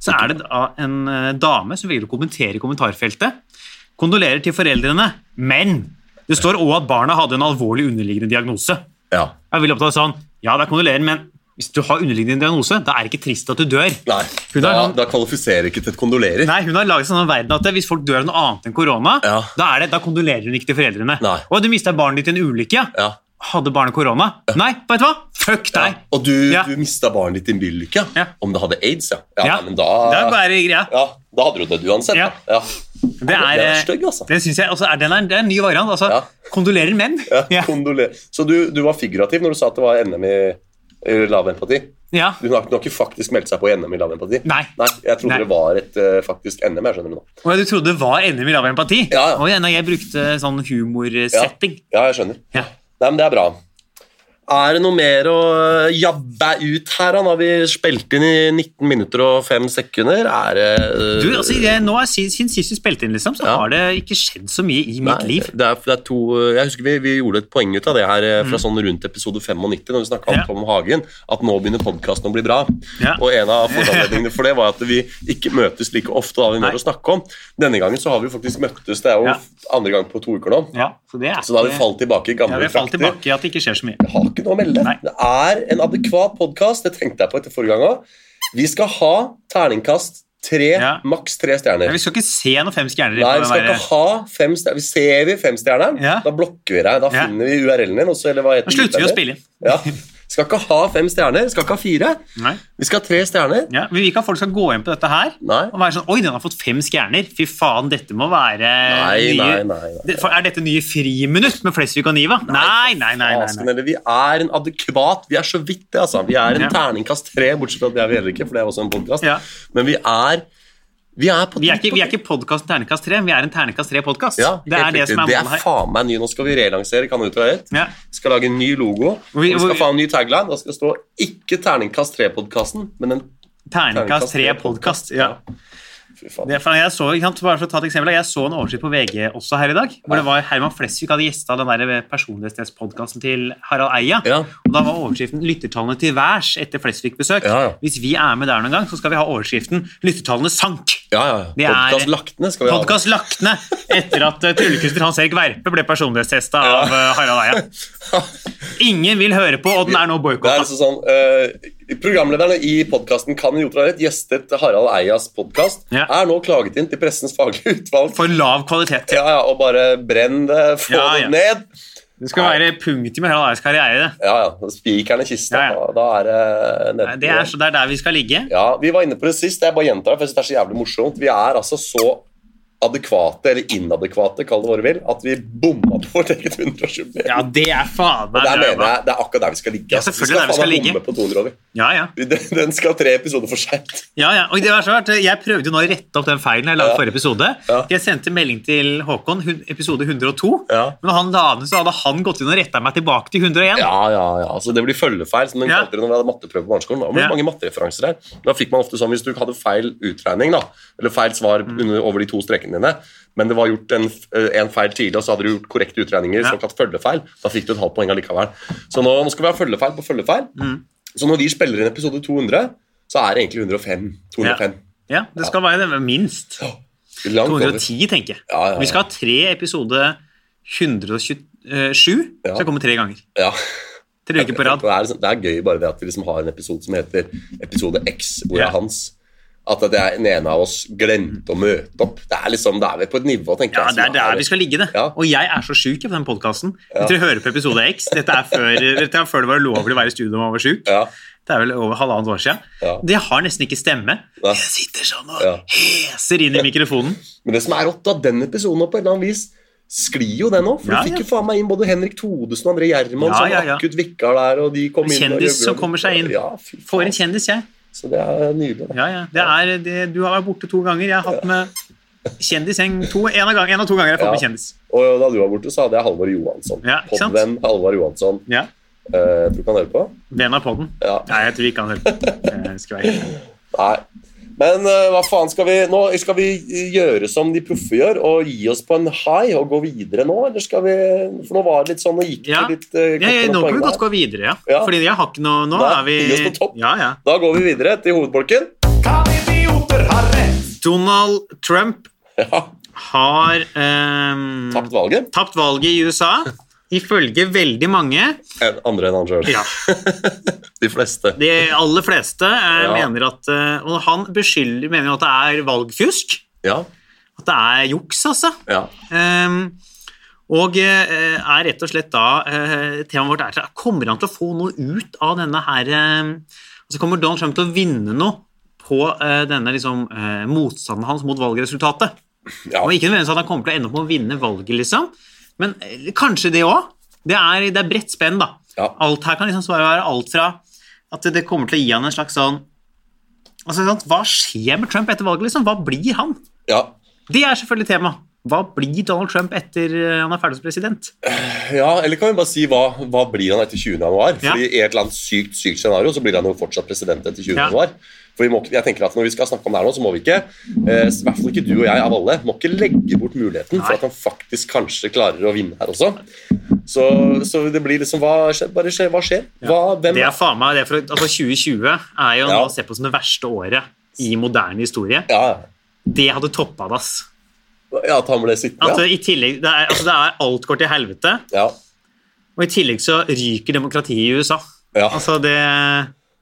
Speaker 2: så er det da en eh, dame som velger å kommentere i kommentarfeltet. Kondolerer til foreldrene, men det står òg at barna hadde en alvorlig underliggende diagnose.
Speaker 3: ja.
Speaker 2: Jeg vil oppdage sånn, ja, det er kondolerer, men hvis du har underliggende diagnose, da er det ikke trist at du dør.
Speaker 3: Nei.
Speaker 2: Hun er
Speaker 3: Da,
Speaker 2: sånn-
Speaker 3: da kvalifiserer ikke til et kondolerer.
Speaker 2: Nei, Hun har laget sånn en verden at hvis folk dør av noe annet enn korona,
Speaker 3: Ja.
Speaker 2: da, er det, da kondolerer hun ikke til foreldrene.
Speaker 3: Nei.
Speaker 2: Og du mista barnet ditt i en ulykke. ja.
Speaker 3: Ja.
Speaker 2: Hadde barnet korona? Nei, vet du hva? Fuck deg!
Speaker 3: Og du,
Speaker 2: Ja.
Speaker 3: du mista barnet ditt i en bilulykke.
Speaker 2: Ja.
Speaker 3: Om det hadde aids, ja. Ja,
Speaker 2: Ja.
Speaker 3: nei, Men da,
Speaker 2: Det er bare greia.
Speaker 3: ja, da hadde du dødd uansett.
Speaker 2: Ja.
Speaker 3: da. Ja.
Speaker 2: Det er,
Speaker 3: Den
Speaker 2: eh,
Speaker 3: er stygg, altså.
Speaker 2: Det synes jeg, altså, er, den er, det er en ny variant. Altså,
Speaker 3: Ja.
Speaker 2: Kondolerer menn.
Speaker 3: Ja.
Speaker 2: Ja.
Speaker 3: kondolerer. Så du, du var figurativ når du sa at det var NM i, i lav empati?
Speaker 2: Ja.
Speaker 3: Hun har, hun har ikke faktisk meldt seg på i NM i lav empati?
Speaker 2: Nei.
Speaker 3: jeg trodde
Speaker 2: Nei.
Speaker 3: det var et eh, faktisk NM. jeg skjønner det nå.
Speaker 2: Og du trodde det var NM i lav empati?
Speaker 3: Ja, ja.
Speaker 2: Og igjen, jeg brukte sånn humorsetting.
Speaker 3: Ja, jeg skjønner.
Speaker 2: Ja.
Speaker 3: Nei, men Det er bra. Er det noe mer å eh, jabbe ut her? da? Nå har vi spilt inn i 19 minutter og 5 sekunder. Er det eh,
Speaker 2: Du, altså, jeg, nå er siden, siden sist vi spilte inn, liksom, så
Speaker 3: Ja.
Speaker 2: har det ikke skjedd så mye i
Speaker 3: Nei,
Speaker 2: mitt liv.
Speaker 3: Det er, det er to, jeg husker vi, vi gjorde et poeng ut av det her eh, fra sånn rundt episode 95, når vi snakka om
Speaker 2: Mm. Ja.
Speaker 3: Tom Hagen, at nå begynner podkasten å bli bra.
Speaker 2: Ja.
Speaker 3: Og en av foranledningene for det var at vi ikke møtes like ofte. da vi
Speaker 2: Nei.
Speaker 3: mer å snakke om. Denne gangen så har vi faktisk møttes, det er jo
Speaker 2: Ja.
Speaker 3: andre gang på to uker nå.
Speaker 2: Ja, så det er
Speaker 3: Så da har vi
Speaker 2: ikke-
Speaker 3: falt tilbake i
Speaker 2: ja,
Speaker 3: gamle
Speaker 2: vi har falt
Speaker 3: trakter.
Speaker 2: tilbake i at det ikke skjer så mye.
Speaker 3: Jeg har ikke noe å melde.
Speaker 2: Nei.
Speaker 3: Det er en adekvat podkast. Det tenkte jeg på etter forrige gang òg. Vi skal ha terningkast tre,
Speaker 2: Ja.
Speaker 3: maks tre stjerner.
Speaker 2: Vi skal ikke se noen fem stjerner i
Speaker 3: Nei,
Speaker 2: på
Speaker 3: vi
Speaker 2: den
Speaker 3: skal
Speaker 2: der-
Speaker 3: ikke ha fem stjerner. Vi ser vi femstjerneren,
Speaker 2: Ja.
Speaker 3: da blokker vi deg. Da
Speaker 2: Ja.
Speaker 3: finner vi URL-en din. og så- eller hva heter
Speaker 2: Da slutter vi å
Speaker 3: den?
Speaker 2: spille inn.
Speaker 3: Ja. Skal ikke ha fem stjerner. Skal ikke ha fire.
Speaker 2: Nei.
Speaker 3: Vi skal ha tre stjerner.
Speaker 2: Ja, vi vil ikke at folk skal gå inn på dette her
Speaker 3: Nei.
Speaker 2: og være sånn Oi, den har fått fem stjerner. Fy faen, dette må være nye
Speaker 3: Nei, nei, nei, nei.
Speaker 2: Det- for Er dette nye Friminutt med Flesvig og Niva? Nei, nei, nei. nei,
Speaker 3: Asken,
Speaker 2: nei.
Speaker 3: eller vi er en adekvat Vi er så vidt det, altså. Vi er en
Speaker 2: Ja.
Speaker 3: terningkast tre, bortsett fra at det er vi heller ikke, for det er også en podkast.
Speaker 2: Ja.
Speaker 3: Men vi er Vi er på
Speaker 2: Vi er ikke, vi er ikke podkasten Ternekast 3, vi er en Ternekast 3-podkast.
Speaker 3: Ja,
Speaker 2: det er
Speaker 3: helt
Speaker 2: det
Speaker 3: riktig.
Speaker 2: som er
Speaker 3: det
Speaker 2: målet
Speaker 3: er
Speaker 2: her.
Speaker 3: faen meg ny. Nå skal vi relansere Kan ut og Høyt.
Speaker 2: Ja.
Speaker 3: Vi skal lage en ny logo. og vi
Speaker 2: hvor-
Speaker 3: skal få en ny tagline. Da skal det stå ikke Terningkast 3-podkasten, men en
Speaker 2: Ternekast
Speaker 3: Terningkast
Speaker 2: 3-podkast. Ja.
Speaker 3: Fy faen.
Speaker 2: Det er, for jeg, så, ikke sant, bare for å ta et eksempel, jeg så en oversikt på VG også her i dag, hvor det var Herman Flesvig hadde gjesta den der personlighetspodkasten til Harald Eia.
Speaker 3: Ja.
Speaker 2: Og da var overskriften 'Lyttertallene til værs etter Flesvig-besøk'.
Speaker 3: Ja, ja.
Speaker 2: Hvis vi er med der noen gang, så skal vi ha overskriften 'Lyttertallene sank'.
Speaker 3: Ja, ja.
Speaker 2: Det er-
Speaker 3: Podkast lagt ned skal vi ha.
Speaker 2: Podkast lagt ned etter at eh, tryllekunstner Hans Erik Verpe ble personlighetstesta av eh, Harald Eia. Ingen vil høre på, og den er nå
Speaker 3: Det er
Speaker 2: boikotta.
Speaker 3: altså sånn, eh, Programlederne i podkasten Kan en jotra rett? Gjestet Harald Eias podkast.
Speaker 2: Ja.
Speaker 3: Er nå klaget inn til pressens faglige utvalg.
Speaker 2: For lav kvalitet.
Speaker 3: Ja, ja, og bare brenn det, få
Speaker 2: Ja, ja.
Speaker 3: det ned.
Speaker 2: Det skal være punktum i Harald Eias karriere. det.
Speaker 3: Ja, ja. Spikeren i kista.
Speaker 2: Ja, ja.
Speaker 3: Da, da er det nede.
Speaker 2: Nei, Det er, så det er der vi skal ligge.
Speaker 3: Ja, Vi var inne på det sist. Jeg bare gjentar det, for jeg synes det er så jævlig morsomt. Vi er altså så adekvate, eller inadekvate, kall det hva du vil, at vi bomma på vårt eget 100-årsjubileum.
Speaker 2: Ja, det er faen
Speaker 3: Og
Speaker 2: meg
Speaker 3: der
Speaker 2: drømmen.
Speaker 3: mener jeg, Det er akkurat der vi skal ligge.
Speaker 2: Ja,
Speaker 3: altså.
Speaker 2: selvfølgelig der vi skal
Speaker 3: faen meg
Speaker 2: ligge.
Speaker 3: bomme på 200 over.
Speaker 2: Ja, ja.
Speaker 3: Den, den skal tre episoder for seint.
Speaker 2: Ja, ja. Og det var så rart. Jeg prøvde jo nå å rette opp den feilen jeg la i
Speaker 3: Ja.
Speaker 2: forrige episode.
Speaker 3: Ja.
Speaker 2: Jeg sendte melding til Håkon, hun- episode 102.
Speaker 3: Ja.
Speaker 2: Men når han la den, så hadde han gått inn og retta meg tilbake til 101.
Speaker 3: Ja, ja, ja. Altså, det blir følgefeil, som de
Speaker 2: Ja.
Speaker 3: kalte det når vi hadde matteprøve på barneskolen. Det var
Speaker 2: Ja.
Speaker 3: mange mattereferanser her. Da fikk man ofte sånn, Hvis du hadde feil utregning, da, eller feil svar
Speaker 2: Mm.
Speaker 3: under, over de to strekene dine, men det var gjort en, f- eh, en feil tidlig, og så hadde du gjort korrekte utregninger,
Speaker 2: Ja.
Speaker 3: såkalt følgefeil, da fikk du et halvt poeng allikevel. Så nå, nå skal vi ha følgefeil på følgefeil.
Speaker 2: Mm.
Speaker 3: Så når vi spiller inn episode 200, så er det egentlig 105. 205.
Speaker 2: Ja, det skal være det. Minst.
Speaker 3: Langt over.
Speaker 2: 210, tenker jeg.
Speaker 3: Ja, ja, ja.
Speaker 2: Vi skal ha tre episode 127.
Speaker 3: Ja.
Speaker 2: eh, Så jeg kommer tre ganger.
Speaker 3: Ja.
Speaker 2: Tre uker på rad.
Speaker 3: Det er, liksom- det er gøy bare det at vi liksom har en episode som heter episode X, hvor
Speaker 2: Ja.
Speaker 3: er hans. At det er den ene av oss glemte å møte opp. Det er liksom, det er vi på et nivå, tenker
Speaker 2: Ja,
Speaker 3: jeg. liksom-
Speaker 2: det er der vi skal ligge, det.
Speaker 3: Ja.
Speaker 2: Og jeg er så sjuk på den podkasten. Hvis dere hører på episode X Dette er før, dette er før det var ulovlig å være i studio når man var sjuk.
Speaker 3: Ja.
Speaker 2: Det er vel over halvannet år siden.
Speaker 3: Ja.
Speaker 2: Det har nesten ikke stemme.
Speaker 3: Nei.
Speaker 2: Jeg sitter sånn og
Speaker 3: Ja.
Speaker 2: heser inn i mikrofonen.
Speaker 3: Men det som er rått, da, den episoden på et eller annet vis sklir jo den òg. For
Speaker 2: Ja,
Speaker 3: du fikk
Speaker 2: ja.
Speaker 3: jo faen meg inn både Henrik Todesen og André Gjerman
Speaker 2: Ja,
Speaker 3: som
Speaker 2: ja, ja.
Speaker 3: akutt vikkar der, og de kom inn og
Speaker 2: Kjendis
Speaker 3: gjorde-
Speaker 2: som kommer seg inn.
Speaker 3: Ja, fy
Speaker 2: Får
Speaker 3: faen.
Speaker 2: en kjendis, jeg.
Speaker 3: Så det er nydelig. da.
Speaker 2: Ja, ja. Det er, det, du har vært borte to ganger. Jeg har hatt med kjendis en, to, en, av gang, en av to ganger. Jeg har fått med
Speaker 3: Ja.
Speaker 2: kjendis.
Speaker 3: Og da du var borte, så hadde jeg Halvor Johansson.
Speaker 2: Ja, ikke sant?
Speaker 3: Podvenn Halvor Johansson.
Speaker 2: Ja.
Speaker 3: Eh, tror du ikke han hører på?
Speaker 2: Venn av podden.
Speaker 3: Ja.
Speaker 2: Nei, jeg tror ikke han hører på. Jeg skal være helt ærlig.
Speaker 3: Nei. Men eh, hva faen skal vi nå? Skal vi gjøre som de proffe gjør, og gi oss på en high og gå videre nå? Eller skal vi For nå var det litt sånn og gikk det
Speaker 2: Ja.
Speaker 3: litt eh,
Speaker 2: Ja, ja,
Speaker 3: kortere
Speaker 2: nå kan vi
Speaker 3: poeng
Speaker 2: godt
Speaker 3: der.
Speaker 2: gå videre, ja.
Speaker 3: Ja.
Speaker 2: Fordi jeg har ikke noe Nå
Speaker 3: Nei,
Speaker 2: er vi
Speaker 3: vi er på topp.
Speaker 2: Ja, ja.
Speaker 3: Da går vi videre til hovedbolken.
Speaker 2: Donald Trump
Speaker 3: Ja,
Speaker 2: har ehm,
Speaker 3: Tapt valget.
Speaker 2: tapt valget i USA, ifølge veldig mange.
Speaker 3: En, andre enn han sjøl.
Speaker 2: Ja,
Speaker 3: De fleste.
Speaker 2: De aller fleste eh,
Speaker 3: Ja.
Speaker 2: mener at eh, Og han beskylder, mener jo at det er valgfusk.
Speaker 3: Ja.
Speaker 2: At det er juks, altså.
Speaker 3: ja.
Speaker 2: Ehm, og eh, er rett og slett da eh, Temaet vårt er Kommer han til å få noe ut av denne her eh, altså Kommer Donald Trump til å vinne noe på eh, denne liksom, eh, motstanden hans mot valgresultatet?
Speaker 3: ja.
Speaker 2: Og ikke nødvendigvis at han kommer til å ende opp med å vinne valget, liksom. Men eh, kanskje det òg. Det er, det er bredt spenn, da.
Speaker 3: Ja.
Speaker 2: Alt her kan liksom svaret være alt fra at det kommer til å gi han en slags sånn Altså, sant? Hva skjer med Trump etter valget, liksom? Hva blir han?
Speaker 3: ja.
Speaker 2: Det er selvfølgelig tema. Hva blir Donald Trump etter eh, han er ferdig som president?
Speaker 3: Ja, eller kan vi bare si hva, hva blir han etter 20. januar?
Speaker 2: Ja.
Speaker 3: Fordi i et eller annet sykt, sykt scenario så blir han jo fortsatt president etter 20.
Speaker 2: Ja.
Speaker 3: januar. For vi må, ikke- jeg tenker at Når vi skal snakke om det her nå, så må vi ikke, eh, i hvert fall ikke du og jeg av alle, må ikke legge bort muligheten for
Speaker 2: Nei.
Speaker 3: at han faktisk kanskje klarer å vinne her også. Så, så det blir liksom Hva skjer? Bare skjer, hva skjer? Hva, hvem
Speaker 2: Det er faen meg det er for, altså 2020 er jo
Speaker 3: Ja.
Speaker 2: nå sett på som det verste året i moderne historie.
Speaker 3: Ja,
Speaker 2: Det hadde toppa det, ass.
Speaker 3: ja. ja, at han ble sittende?
Speaker 2: At, eh, i tillegg, det er, altså, det er alt går til helvete.
Speaker 3: Ja. ja.
Speaker 2: Og i tillegg så ryker demokratiet i USA.
Speaker 3: Ja.
Speaker 2: Altså det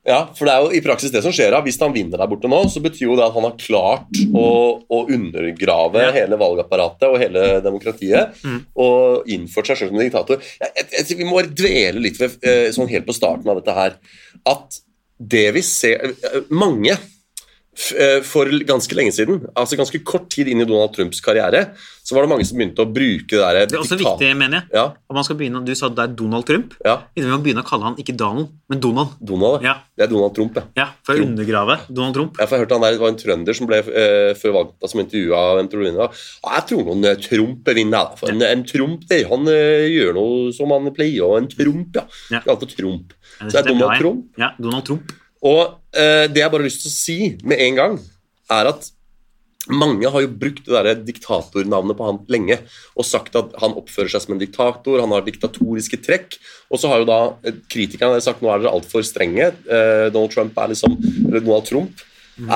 Speaker 3: Ja, for det er jo i praksis det som skjer. da. Hvis han vinner der borte nå, så betyr jo det at han har klart å, å undergrave
Speaker 2: Ja. Mm.
Speaker 3: hele valgapparatet og hele demokratiet og innført seg selv som diktator. Jeg, jeg, jeg, vi må bare dvele litt ved, eh, sånn helt på starten av dette her at det vi ser eh, Mange f- eh, for ganske lenge siden, altså ganske kort tid inn i Donald Trumps karriere, så var det mange som begynte å bruke det derre
Speaker 2: Det er også viktig, mener jeg.
Speaker 3: Ja,
Speaker 2: At man skal begynne, Du sa det er Donald Trump.
Speaker 3: ja.
Speaker 2: Vi må begynne å kalle han ikke Donald, men Donald.
Speaker 3: Donald.
Speaker 2: Ja,
Speaker 3: Det er Donald Trump, ja.
Speaker 2: ja For å
Speaker 3: Trump.
Speaker 2: undergrave Donald Trump.
Speaker 3: Ja, for jeg hørte han der, Det var en trønder som ble eh, før valget, som intervjua hvem tror du vinner. da? Ja, jeg tror noen eh, Trump vinner. da. For en, en Trump det, han eh, gjør noe som han pleier, og en Trump, ja.
Speaker 2: Ja.
Speaker 3: Kaller for Trump.
Speaker 2: Ja,
Speaker 3: Så det er
Speaker 2: bra,
Speaker 3: Donald
Speaker 2: jeg.
Speaker 3: Trump.
Speaker 2: Ja, Donald Trump.
Speaker 3: Og eh, det jeg bare har lyst til å si med en gang, er at mange har jo brukt det der diktatornavnet på han lenge og sagt at han oppfører seg som en diktator, han har diktatoriske trekk. Og så har jo da eh, kritikerne sagt nå er dere altfor strenge. eh, Donald Trump er liksom Eller Donald Trump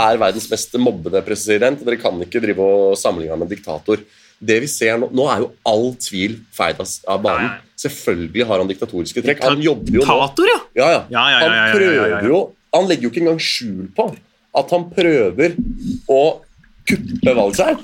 Speaker 3: er verdens mest mobbede president. Dere kan ikke drive og sammenligne ham med en diktator. Det vi ser Nå nå er jo all tvil feid av s- av
Speaker 2: Nei,
Speaker 3: banen.
Speaker 2: nei.
Speaker 3: Selvfølgelig har han diktatoriske trekk. Han jobber jo nå
Speaker 2: Tator, ja!
Speaker 3: ja, ja.
Speaker 2: Ja, ja, ja, ja, ja,
Speaker 3: Han
Speaker 2: ja, ja, ja.
Speaker 3: prøver jo Han legger jo ikke engang skjul på at han prøver å kuppe valgseier.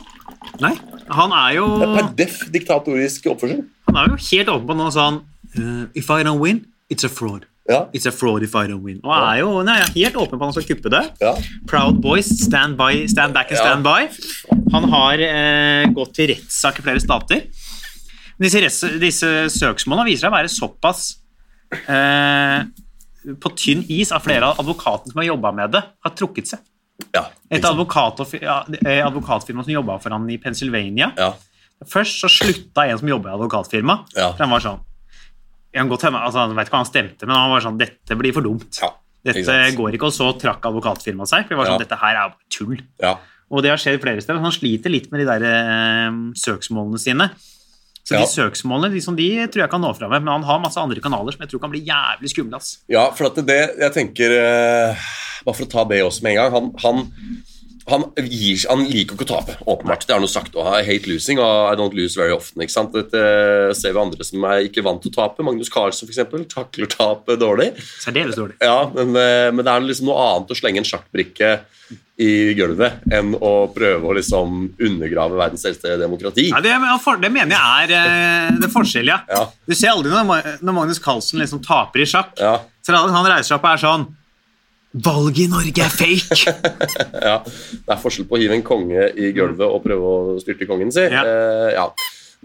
Speaker 2: Nei, han er jo
Speaker 3: Det er per deff diktatorisk oppførsel.
Speaker 2: Han er jo helt åpen på nå sånn eh, If I don't win, it's a fraud.
Speaker 3: Ja,
Speaker 2: It's a fraud if I don't win. Og er jo nei, jeg er helt åpen på at han skal kuppe det.
Speaker 3: ja.
Speaker 2: Proud Boys, stand, by, stand back and
Speaker 3: Ja.
Speaker 2: stand by. Han har eh, gått til rettssak i flere stater. Men Disse, retts- disse søksmålene viser seg å være såpass eh, på tynn is at flere av advokatene som har jobba med det, har trukket seg.
Speaker 3: ja.
Speaker 2: Et
Speaker 3: Ikke sant?
Speaker 2: advokat, ja, eh, advokatfirma som jobba for han i Pennsylvania.
Speaker 3: Ja,
Speaker 2: Først så slutta en som jobba i advokatfirma.
Speaker 3: Ja.
Speaker 2: For han var sånn jeg kan godt hende, altså, Jeg vet ikke hva han stemte, men han var sånn Dette blir for dumt.
Speaker 3: ja. Ikke
Speaker 2: Dette
Speaker 3: sant?
Speaker 2: går ikke, og så trakk advokatfirmaet seg. For det var sånn,
Speaker 3: Ja.
Speaker 2: dette her er bare tull.
Speaker 3: ja.
Speaker 2: Og det har skjedd flere steder. Han sliter litt med de der eh, søksmålene sine. Så
Speaker 3: Ja.
Speaker 2: de søksmålene de, som de tror jeg kan nå fram med, men han har masse andre kanaler som jeg tror kan bli jævlig skumle. ass.
Speaker 3: ja, for at det jeg tenker eh, Bare for å ta det også med en gang. Han, han, han, gir, han liker ikke å tape, åpenbart. Det har han jo sagt. Og I hate losing og I don't lose very often. Ikke sant? Dette eh, ser vi andre som er ikke vant til å tape. Magnus Carlsen, for eksempel, takler tapet dårlig.
Speaker 2: Særdeles dårlig.
Speaker 3: Ja, men, eh, men det er liksom noe annet å slenge en sjakkbrikke i gulvet enn å prøve å liksom undergrave verdens eldste demokrati.
Speaker 2: Nei, det, men for- det mener jeg er eh, det er forskjell, ja.
Speaker 3: Ja.
Speaker 2: Du ser aldri når, Ma- når Magnus Carlsen liksom taper i sjakk.
Speaker 3: Ja,
Speaker 2: Så er det aldri han reiser seg opp og er sånn Valget i Norge er fake!
Speaker 3: ja. Det er forskjell på å hive en konge i gulvet og prøve å styrte kongen sin.
Speaker 2: Ja.
Speaker 3: Eh, ja.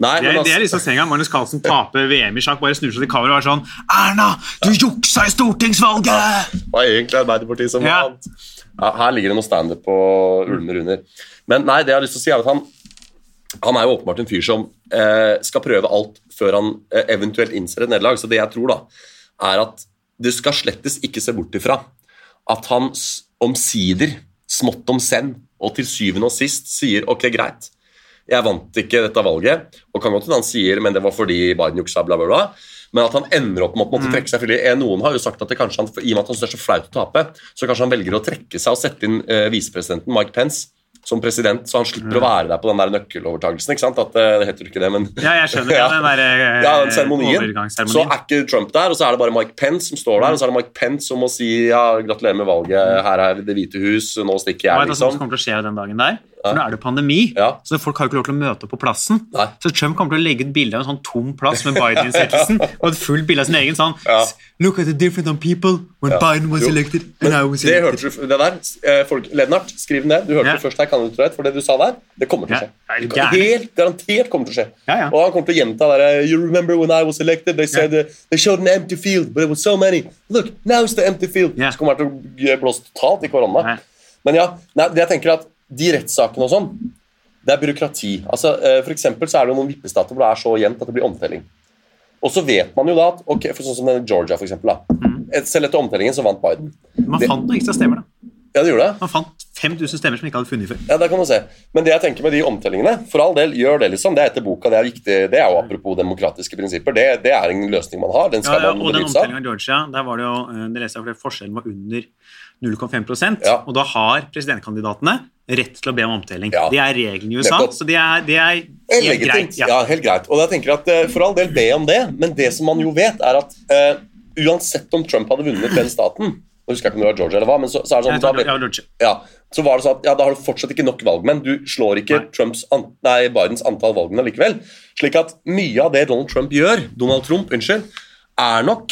Speaker 3: Nei,
Speaker 2: Det
Speaker 3: men
Speaker 2: er, det
Speaker 3: altså,
Speaker 2: er liksom senga Magnus Carlsen taper VM i sjakk, bare snur seg til kameraet og er sånn Erna, du juksa i stortingsvalget!
Speaker 3: det var egentlig Arbeiderpartiet som
Speaker 2: Ja.
Speaker 3: vant. Ja, her ligger det noe standup på ulmer under. Men nei, det jeg har lyst til å si, er at han, han er jo åpenbart en fyr som eh, skal prøve alt før han eh, eventuelt innser et nederlag. Så det jeg tror, da, er at du skal slettes ikke se bort ifra at han s- omsider, smått om senn, og til syvende og sist sier ok, greit. Jeg vant ikke dette valget, og kan godt hende han sier men det var fordi Biden juksa, bla, bla, bla. Men at han ender opp med å på en måte trekke seg fordi eh, Noen har jo sagt at det kanskje han, i og med at han synes det er så flaut å tape, så kanskje han velger å trekke seg og sette inn eh, visepresidenten Mike Pence som president, så han slipper å være der på den der nøkkelovertagelsen. ikke sant? At, eh, det heter jo ikke det, men
Speaker 2: Ja, jeg skjønner. Ja,
Speaker 3: Ja.
Speaker 2: den der, eh,
Speaker 3: ja, den seremonien. Så
Speaker 2: overgangsseremonien. Mm.
Speaker 3: er ikke Trump der, og så er det bare Mike Pence som står der, og så er det Mike Pence som må si ja, gratulerer med valget, her er Det hvite hus, nå stikker
Speaker 2: Hva
Speaker 3: jeg,
Speaker 2: er det som
Speaker 3: liksom.
Speaker 2: kommer til å skje den dagen der? For nå er det pandemi,
Speaker 3: Ja.
Speaker 2: så folk har jo ikke lov til å møte opp på plassen.
Speaker 3: Nei.
Speaker 2: Så Trump kommer til å legge ut bilde av en sånn tom plass med Biden-innsettelsen, og et fullt bilde av sin egen sånn
Speaker 3: Ja.
Speaker 2: Look at the difference on people when Biden was
Speaker 3: Jo.
Speaker 2: elected and I
Speaker 3: Men
Speaker 2: was
Speaker 3: det
Speaker 2: elected.
Speaker 3: hørte du, det der, eh, folk, Lennart, skriv ned. Du hørte
Speaker 2: Ja.
Speaker 3: det først her, kan du tro det, for det du sa der, det kommer til
Speaker 2: Ja,
Speaker 3: å skje.
Speaker 2: er du
Speaker 3: Det
Speaker 2: gæren?
Speaker 3: kan- Helt garantert kommer til å skje.
Speaker 2: Ja, ja.
Speaker 3: Og han kommer til å gjenta det der, You remember when I was elected, they said eh, they showed an empty field, but it was so many. Look, now it's the empty field.
Speaker 2: Ja.
Speaker 3: Så kommer han til å blåse totalt i korona.
Speaker 2: Nei.
Speaker 3: Men ja, nei, det jeg tenker er at de rettssakene og sånn, det er byråkrati. Altså, eh, for eksempel så er det jo noen vippestater hvor det er så jevnt at det blir omtelling. Og så vet man jo da at ok, for sånn som denne Georgia, for eksempel, da. Et- Selv etter omtellingen så vant Biden.
Speaker 2: Man
Speaker 3: Det-
Speaker 2: fant noen ekstra stemmer, da.
Speaker 3: Ja, det gjorde det.
Speaker 2: Han fant 5000 stemmer som han ikke hadde funnet før.
Speaker 3: Ja, det kan man se. Men det jeg tenker med de omtellingene, for all del, gjør det, liksom. Det er etter boka, det er viktig. Det er jo apropos demokratiske prinsipper. Det, det er en løsning man har. Den
Speaker 2: Ja,
Speaker 3: skal
Speaker 2: ja,
Speaker 3: man
Speaker 2: og den
Speaker 3: benytte seg
Speaker 2: omtellingen
Speaker 3: av.
Speaker 2: av Georgia, der var det jo, eh, det leste jeg, fordi forskjellen var under 0,5
Speaker 3: Ja.
Speaker 2: og da har presidentkandidatene rett til å be om omtelling.
Speaker 3: Ja.
Speaker 2: Det er regelen i USA,
Speaker 3: Nettopp.
Speaker 2: så det er, det er
Speaker 3: Eh,
Speaker 2: helt
Speaker 3: Legitimt.
Speaker 2: greit.
Speaker 3: Ja. helt greit. Og jeg tenker at eh, For all del, be om det, men det som man jo vet, er at eh, uansett om Trump hadde vunnet den staten Nå husker jeg ikke om det var Georgia eller hva, men så, så er det
Speaker 2: Jeg
Speaker 3: sånn
Speaker 2: tror
Speaker 3: da,
Speaker 2: det- ja,
Speaker 3: ble-
Speaker 2: Georgia.
Speaker 3: ja, Så var det sånn at ja, da har du fortsatt ikke nok valgmenn. Du slår ikke
Speaker 2: Nei.
Speaker 3: Trumps an, nei, Bidens antall valgmenn likevel. Slik at mye av det Donald Trump gjør, Donald Trump, unnskyld, er nok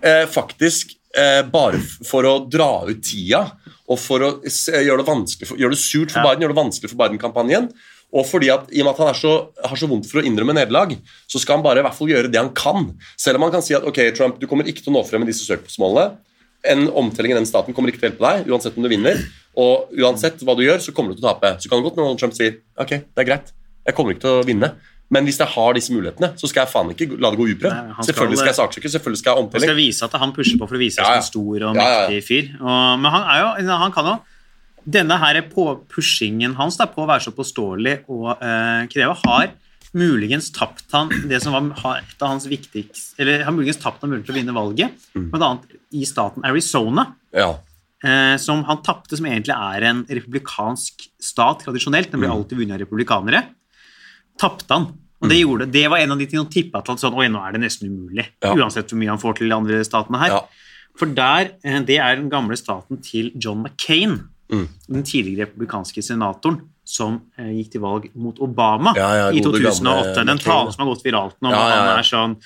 Speaker 3: eh, faktisk eh, bare f- for å dra ut tida og for å s- eh, gjøre det vanskelig for, gjøre det surt
Speaker 2: Ja.
Speaker 3: for Biden, gjøre det vanskelig for Biden-kampanjen. Og fordi at, I og med at han er så, har så vondt for å innrømme nederlag, så skal han bare i hvert fall gjøre det han kan. Selv om han kan si at ok, Trump, du kommer ikke til å nå frem med disse søksmålene. En omtelling i den staten kommer ikke til å hjelpe deg, uansett om du vinner. Og uansett hva du gjør, så kommer du til å tape. Så kan det godt hende Donald Trump sier ok, det er greit, jeg kommer ikke til å vinne. Men hvis jeg har disse mulighetene, så skal jeg faen ikke la det gå uprøvd.
Speaker 2: Nei, han skal-
Speaker 3: selvfølgelig skal jeg saksøke, selvfølgelig skal jeg ha
Speaker 2: Han
Speaker 3: omtelling.
Speaker 2: skal vise at han pusher på for å vise seg
Speaker 3: Ja,
Speaker 2: som
Speaker 3: ja.
Speaker 2: en stor og
Speaker 3: Ja, ja, ja.
Speaker 2: mektig fyr. Og, men han er jo Han kan jo Denne her på- pushingen hans da, på å være så påståelig og eh, kreve har muligens tapt han det som var ha- et av hans viktigste Eller har muligens tapt han muligheten til å vinne valget,
Speaker 3: Mm.
Speaker 2: blant annet i staten Arizona.
Speaker 3: Ja.
Speaker 2: Eh, som han tapte, som egentlig er en republikansk stat tradisjonelt.
Speaker 3: Mm.
Speaker 2: Den ble alltid vunnet av republikanere. Tapte han. Og
Speaker 3: Mm.
Speaker 2: det, gjorde, det var en av de tingene han tippa til at sånn, Oi, nå er det nesten umulig.
Speaker 3: Ja.
Speaker 2: Uansett hvor mye han får til de andre statene her.
Speaker 3: Ja.
Speaker 2: For der, eh, det er den gamle staten til John McCain,
Speaker 3: Mm.
Speaker 2: den tidligere republikanske senatoren, som eh, gikk til valg mot Obama
Speaker 3: Ja, ja,
Speaker 2: i
Speaker 3: gode gamle
Speaker 2: 2008. Den
Speaker 3: McCain, ja.
Speaker 2: talen som har gått viralt nå,
Speaker 3: Ja,
Speaker 2: hvor
Speaker 3: ja, ja.
Speaker 2: han er sånn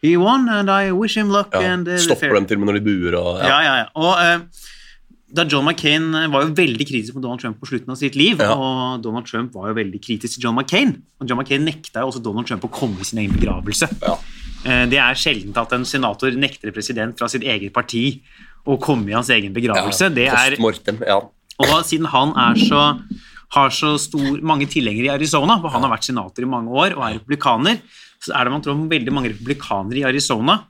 Speaker 2: He won, and I wish him luck.
Speaker 3: ja.
Speaker 2: and, eh, the fair-
Speaker 3: Stopper dem til og med når de buer og
Speaker 2: ja, ja, ja. Og eh, da John McCain eh, var jo veldig kritisk mot Donald Trump på slutten av sitt liv,
Speaker 3: Ja.
Speaker 2: og Donald Trump var jo veldig kritisk til John McCain. Og John McCain nekta jo også Donald Trump å komme i sin egen begravelse.
Speaker 3: Ja.
Speaker 2: Eh, det er sjelden at en senator nekter en president fra sitt eget parti å komme i hans egen begravelse. Det er,
Speaker 3: Post mortem, ja.
Speaker 2: og siden han er så har så stor, mange tilhengere i Arizona, for han har vært senator i mange år og er republikaner, så er det man tror veldig mange republikanere i Arizona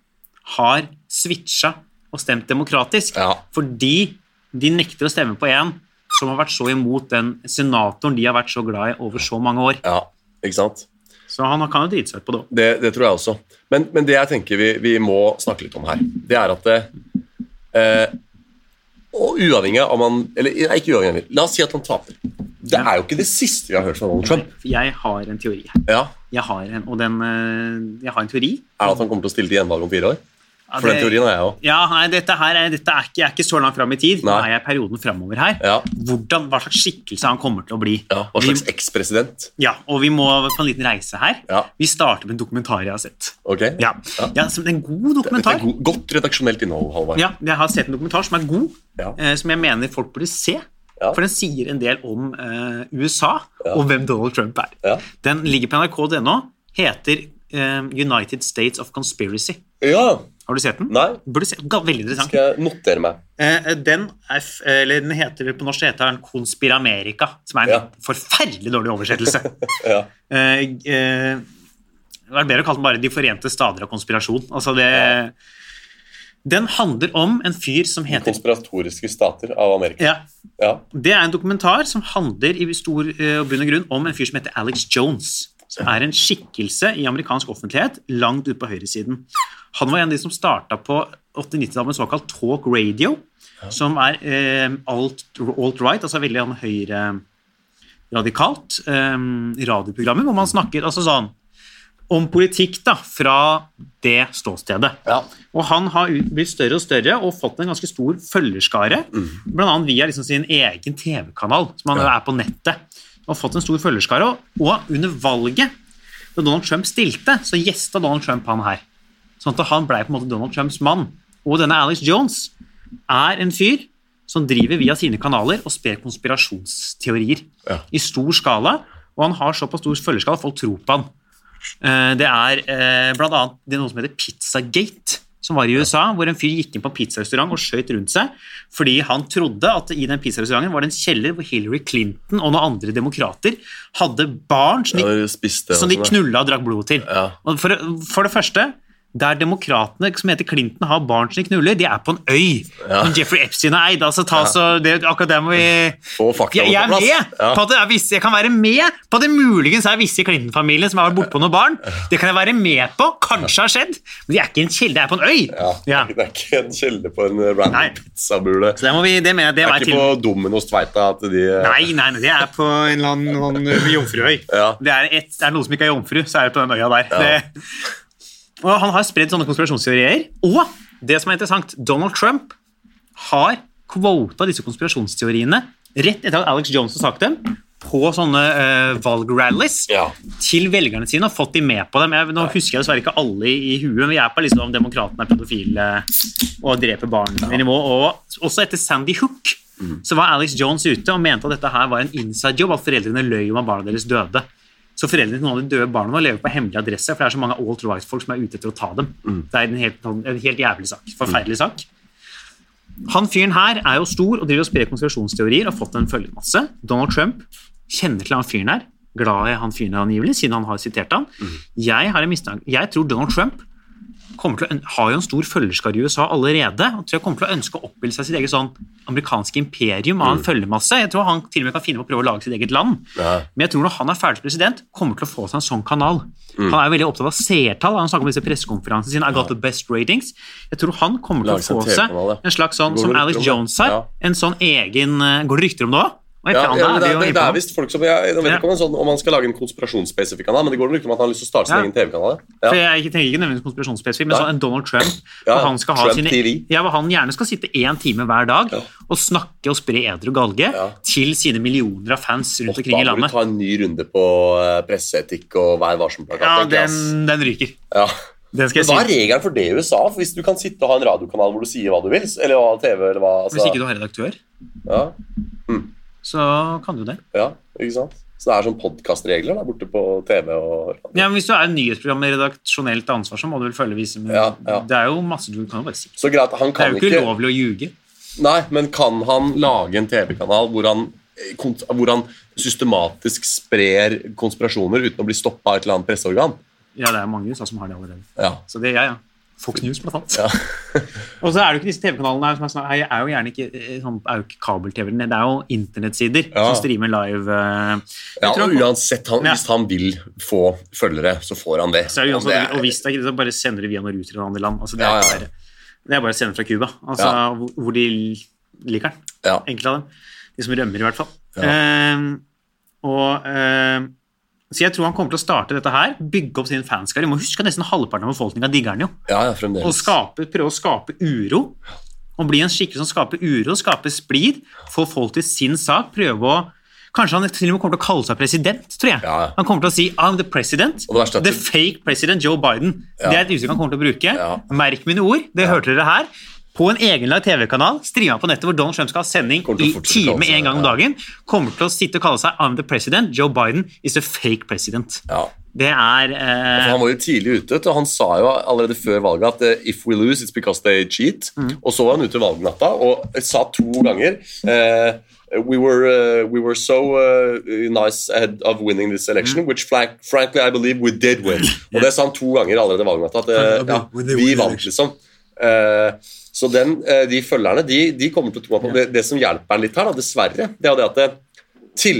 Speaker 2: har switcha og stemt demokratisk.
Speaker 3: Ja.
Speaker 2: Fordi de nekter å stemme på en som har vært så imot den senatoren de har vært så glad i over så mange år.
Speaker 3: ja. Ikke sant?
Speaker 2: Så han kan jo drite seg ut på det òg.
Speaker 3: Det, det tror jeg også. Men, men det jeg tenker vi, vi må snakke litt om her, det er at det, eh, og uavhengig av om han Eller nei, ikke uavhengig, av- la oss si at han taper. Det er jo ikke det siste vi har hørt fra Donald Trump.
Speaker 2: Jeg har en teori.
Speaker 3: Ja,
Speaker 2: Jeg har en, og den, eh, jeg har en teori.
Speaker 3: Er det at han kommer til å stille til gjenvalg om fire år?
Speaker 2: Ja,
Speaker 3: For den
Speaker 2: det-
Speaker 3: teorien har jeg òg.
Speaker 2: Ja, nei, dette her er, dette er ikke, jeg er ikke så langt fram i tid. Nå
Speaker 3: Nei.
Speaker 2: er jeg i perioden framover her.
Speaker 3: Ja.
Speaker 2: Hvordan, hva slags skikkelse han kommer til å bli.
Speaker 3: Ja, hva slags
Speaker 2: vi,
Speaker 3: ekspresident?
Speaker 2: ja, og vi må på en liten reise her.
Speaker 3: Ja.
Speaker 2: Vi starter med en dokumentar jeg har sett.
Speaker 3: Ok?
Speaker 2: Ja,
Speaker 3: Ja.
Speaker 2: ja som en god
Speaker 3: Dette er
Speaker 2: dokumentar.
Speaker 3: go godt redaksjonelt innhold, Halvard.
Speaker 2: Ja, jeg har sett en dokumentar som er god,
Speaker 3: Ja.
Speaker 2: eh, som jeg mener folk burde se.
Speaker 3: Ja.
Speaker 2: For den sier en del om eh, USA
Speaker 3: Ja.
Speaker 2: og hvem Donald Trump er.
Speaker 3: Ja.
Speaker 2: Den ligger på nrk.no, heter eh, United States of Conspiracy.
Speaker 3: ja.
Speaker 2: Har du sett den?
Speaker 3: Nei.
Speaker 2: Burde se, ga- veldig interessant.
Speaker 3: Skal jeg notere meg.
Speaker 2: Eh, Den, er, f- eh, eller den heter vel på norsk heter den Konspiramerica, som er en
Speaker 3: Ja.
Speaker 2: forferdelig dårlig oversettelse.
Speaker 3: Ja.
Speaker 2: Eh, eh, det er bedre å kalle den bare De forente stader av konspirasjon. Altså det, Den handler om en fyr som heter
Speaker 3: Konspiratoriske stater av Amerika.
Speaker 2: ja,
Speaker 3: Ja.
Speaker 2: Det er en dokumentar som handler i stor eh, og bunn og grunn om en fyr som heter Alex Jones. Som er en skikkelse i amerikansk offentlighet langt ute på høyresiden. Han var en av de som starta på 80-90-tallet med såkalt talk radio, som er eh, alt, alt-right, altså veldig sånn høyreradikalt eh, radioprogrammer, hvor man snakker altså sånn om politikk da, fra det ståstedet.
Speaker 3: Ja.
Speaker 2: Og han har ut- blitt større og større og fått en ganske stor følgerskare. Blant annet via liksom sin egen TV-kanal, som han er på nettet. Og fått en stor følgerskare. Og, og under valget, da Donald Trump stilte, så gjesta Donald Trump han her. Sånn at han blei på en måte Donald Trumps mann. Og denne Alex Jones er en fyr som driver via sine kanaler og sprer konspirasjonsteorier
Speaker 3: Ja.
Speaker 2: i stor skala. Og han har såpass stor følgerskala at folk tror på han. Eh, Det er eh, blant annet det er noe som heter Pizzagate, som var i USA, hvor en fyr gikk inn på en pizzarestaurant og skjøt rundt seg fordi han trodde at i den pizzarestauranten var det en kjeller hvor Hillary Clinton og noen andre demokrater hadde barn som de
Speaker 3: Ja, dere spiste
Speaker 2: som de
Speaker 3: og sånn, ja.
Speaker 2: knulla og drakk blod til.
Speaker 3: Ja.
Speaker 2: Og for, for det første, der demokratene som heter Clinton har barn som de knuller, de er på en øy
Speaker 3: Ja.
Speaker 2: som Jeffrey Epstein er eid. Altså, ta så, det, akkurat der må vi
Speaker 3: Få fakta
Speaker 2: jeg, jeg er
Speaker 3: på plass.
Speaker 2: med
Speaker 3: Ja.
Speaker 2: på at det er visse, jeg kan være med på at det muligens er visse i Clinton-familien som har vært bortpå noen barn. Det kan jeg være med på. Kanskje har skjedd. Men de er ikke i en kilde, det er på en øy. Ja.
Speaker 3: Det er ikke en kjelde på en
Speaker 2: Nei.
Speaker 3: random pizzabule.
Speaker 2: Så det må vi, det mener jeg, det
Speaker 3: Det
Speaker 2: var
Speaker 3: er
Speaker 2: jeg
Speaker 3: ikke
Speaker 2: til.
Speaker 3: på Dominos Tveita at de eh,
Speaker 2: Nei, nei, nei, det er på en eller annen, noen, eh, jomfruøy.
Speaker 3: Ja.
Speaker 2: Det er, et, det er noen som ikke er jomfru, så er det på den øya der.
Speaker 3: Ja.
Speaker 2: Det, og han har spredd sånne konspirasjonsteorier. Og det som er interessant, Donald Trump har kvota disse konspirasjonsteoriene rett etter at Alex Jones har sagt dem, på sånne uh, valgrallies
Speaker 3: Ja.
Speaker 2: til velgerne sine og fått de med på dem. Jeg, nå husker jeg dessverre ikke alle i, i huet, men vi er på liksom om demokratene er pedofile og dreper barn i nivå. Og også etter Sandy Hook så var Alex Jones ute og mente at dette her var en inside job, at foreldrene løy om at barna deres døde. Så foreldrene til noen av de døde barna må leve på hemmelig adresse, for det er så mange alt-right-folk som er ute etter å ta dem. Det er en helt, sånn, en helt jævlig sak. Forferdelig sak. Han fyren her er jo stor og driver og sprer konspirasjonsteorier og har fått en følgemasse. Donald Trump kjenner til han fyren her, glad i han fyren her angivelig, siden han har sitert han. Jeg har en mistanke. Jeg tror Donald Trump kommer til å, øn- har jo en stor følgerskare i USA allerede, og tror jeg kommer til å ønske å oppbilde seg sitt eget sånn amerikanske imperium av en følgemasse. Jeg tror han til og med kan finne på å prøve å lage sitt eget land.
Speaker 3: Ja.
Speaker 2: Men jeg tror når han er ferdig som president, kommer til å få seg en sånn kanal.
Speaker 3: Mm.
Speaker 2: Han er veldig opptatt av seertall. Han snakker om disse pressekonferansene sine. I got the best ratings. Jeg tror han kommer til
Speaker 3: Lage seg
Speaker 2: å få
Speaker 3: en
Speaker 2: seg
Speaker 3: TV-kanal, ja.
Speaker 2: en slags sånn
Speaker 3: Går det
Speaker 2: som
Speaker 3: rykter
Speaker 2: Alex
Speaker 3: om det?
Speaker 2: Jones har.
Speaker 3: Ja.
Speaker 2: En sånn egen eh, Går det rykter om det òg?
Speaker 3: Ja, ja, men det, er- det, det er
Speaker 2: Ja,
Speaker 3: visst folk som Jeg, jeg vet
Speaker 2: Ja.
Speaker 3: ikke om, en sånn, om han skal lage en konspirasjonsspesifikk kanal, men det går vel rykter om at han har lyst til å starte sin
Speaker 2: Ja.
Speaker 3: egen TV-kanal.
Speaker 2: for
Speaker 3: Ja.
Speaker 2: jeg tenker ikke nødvendigvis konspirasjonsspesifikt, men
Speaker 3: Nei.
Speaker 2: sånn en Donald Trump
Speaker 3: Ja,
Speaker 2: hvor han skal ha
Speaker 3: Trump
Speaker 2: sine,
Speaker 3: TV.
Speaker 2: ja, hvor han gjerne skal sitte én time hver dag
Speaker 3: Ja.
Speaker 2: og snakke og spre eder og galge
Speaker 3: Ja.
Speaker 2: til sine millioner av fans rundt
Speaker 3: Da
Speaker 2: omkring i
Speaker 3: må du
Speaker 2: landet.
Speaker 3: ta en ny runde på eh, presseetikk og Vær varsom-plakat.
Speaker 2: Ja,
Speaker 3: tenker jeg, ass.
Speaker 2: den, den ryker.
Speaker 3: Ja.
Speaker 2: Den skal
Speaker 3: Men
Speaker 2: jeg
Speaker 3: Hva
Speaker 2: si.
Speaker 3: er regelen for det i USA? For hvis du kan sitte og ha en radiokanal hvor du sier hva du vil, eller hva TV eller hva altså,
Speaker 2: Hvis ikke du har redaktør,
Speaker 3: ja,
Speaker 2: så kan du det.
Speaker 3: ja, ikke sant? Så det er sånn podkastregler der borte på TV og radio.
Speaker 2: Ja, men Hvis du er nyhetsprogram med redaksjonelt ansvar, så må du vel følge visse men
Speaker 3: Ja, ja.
Speaker 2: Det er jo masse du kan jo bare si.
Speaker 3: Så greit, han
Speaker 2: Det er
Speaker 3: kan
Speaker 2: jo
Speaker 3: ikke,
Speaker 2: ikke ulovlig å ljuge.
Speaker 3: Nei, men kan han lage en TV-kanal hvor han eh, kont- hvor han systematisk sprer konspirasjoner uten å bli stoppa av et eller annet presseorgan.
Speaker 2: Ja, det er mange i USA som har det allerede.
Speaker 3: Ja.
Speaker 2: Så det, ja, ja. Fox News, blant annet.
Speaker 3: Ja.
Speaker 2: og så er det jo ikke disse TV-kanalene her som er, sånn- her er jo gjerne ikke, eh, sånn, er jo ikke kabel-TV, det er jo internettsider
Speaker 3: Ja.
Speaker 2: som streamer live. eh. Jeg
Speaker 3: ja
Speaker 2: tror
Speaker 3: og
Speaker 2: han-
Speaker 3: uansett, han,
Speaker 2: Ja.
Speaker 3: hvis han vil få følgere, så får han det.
Speaker 2: så er det jo
Speaker 3: Og det
Speaker 2: uansett,
Speaker 3: er-
Speaker 2: og hvis det er ikke det, så bare sender de via noen ruter i noen andre land. Altså, det, er
Speaker 3: Ja, ja,
Speaker 2: ikke
Speaker 3: ja.
Speaker 2: bare- det er bare å sende fra Cuba, altså,
Speaker 3: Ja.
Speaker 2: hvor- hvor de liker den.
Speaker 3: ja.
Speaker 2: enkelte av dem. De som rømmer, i hvert fall.
Speaker 3: Ja.
Speaker 2: Ehm, og, ehm, så jeg tror han kommer til å starte dette her, bygge opp sin fanskare. Du må huske at nesten halvparten av befolkninga digger han jo.
Speaker 3: ja, ja,
Speaker 2: Og
Speaker 3: fremdeles.
Speaker 2: skape, prøve å skape uro. Og bli en skikkelse som skaper uro, skaper splid, få folk til sin sak, prøve å Kanskje han til og med kommer til å kalle seg president, tror jeg.
Speaker 3: Ja, ja.
Speaker 2: Han kommer til å si 'I'm the president'.
Speaker 3: Og det verste er at
Speaker 2: the
Speaker 3: det-
Speaker 2: fake president Joe Biden.
Speaker 3: Ja.
Speaker 2: Det er et uttrykk han kommer til å bruke.
Speaker 3: Ja.
Speaker 2: Merk mine ord, det hørte dere her. På en egenlagd TV-kanal, streama på nettet, hvor Donald Trump skal ha sending
Speaker 3: Kommer
Speaker 2: i
Speaker 3: til å fortsette å
Speaker 2: time
Speaker 3: kalle seg
Speaker 2: en gang om
Speaker 3: det,
Speaker 2: dagen, kommer til å sitte og kalle seg 'I'm the president'. Joe Biden is a fake president.
Speaker 3: Ja.
Speaker 2: Det er eh,
Speaker 3: For han var jo tidlig ute, vet du, og han sa jo allerede før valget at eh, if we lose, it's because they cheat.
Speaker 2: Mm.
Speaker 3: Og så var han ute valgnatta og sa to ganger eh, We were, eh, we were so eh, nice ahead of winning this election,
Speaker 2: Mm.
Speaker 3: which flank, frankly I believe we did win. Og det sa han to ganger allerede valgnatta. At eh, ja, vi vant, liksom. Eh, så den, eh, de følgerne de, de kommer til å tro på det, det som hjelper han litt her, da, dessverre, det er jo det at eh,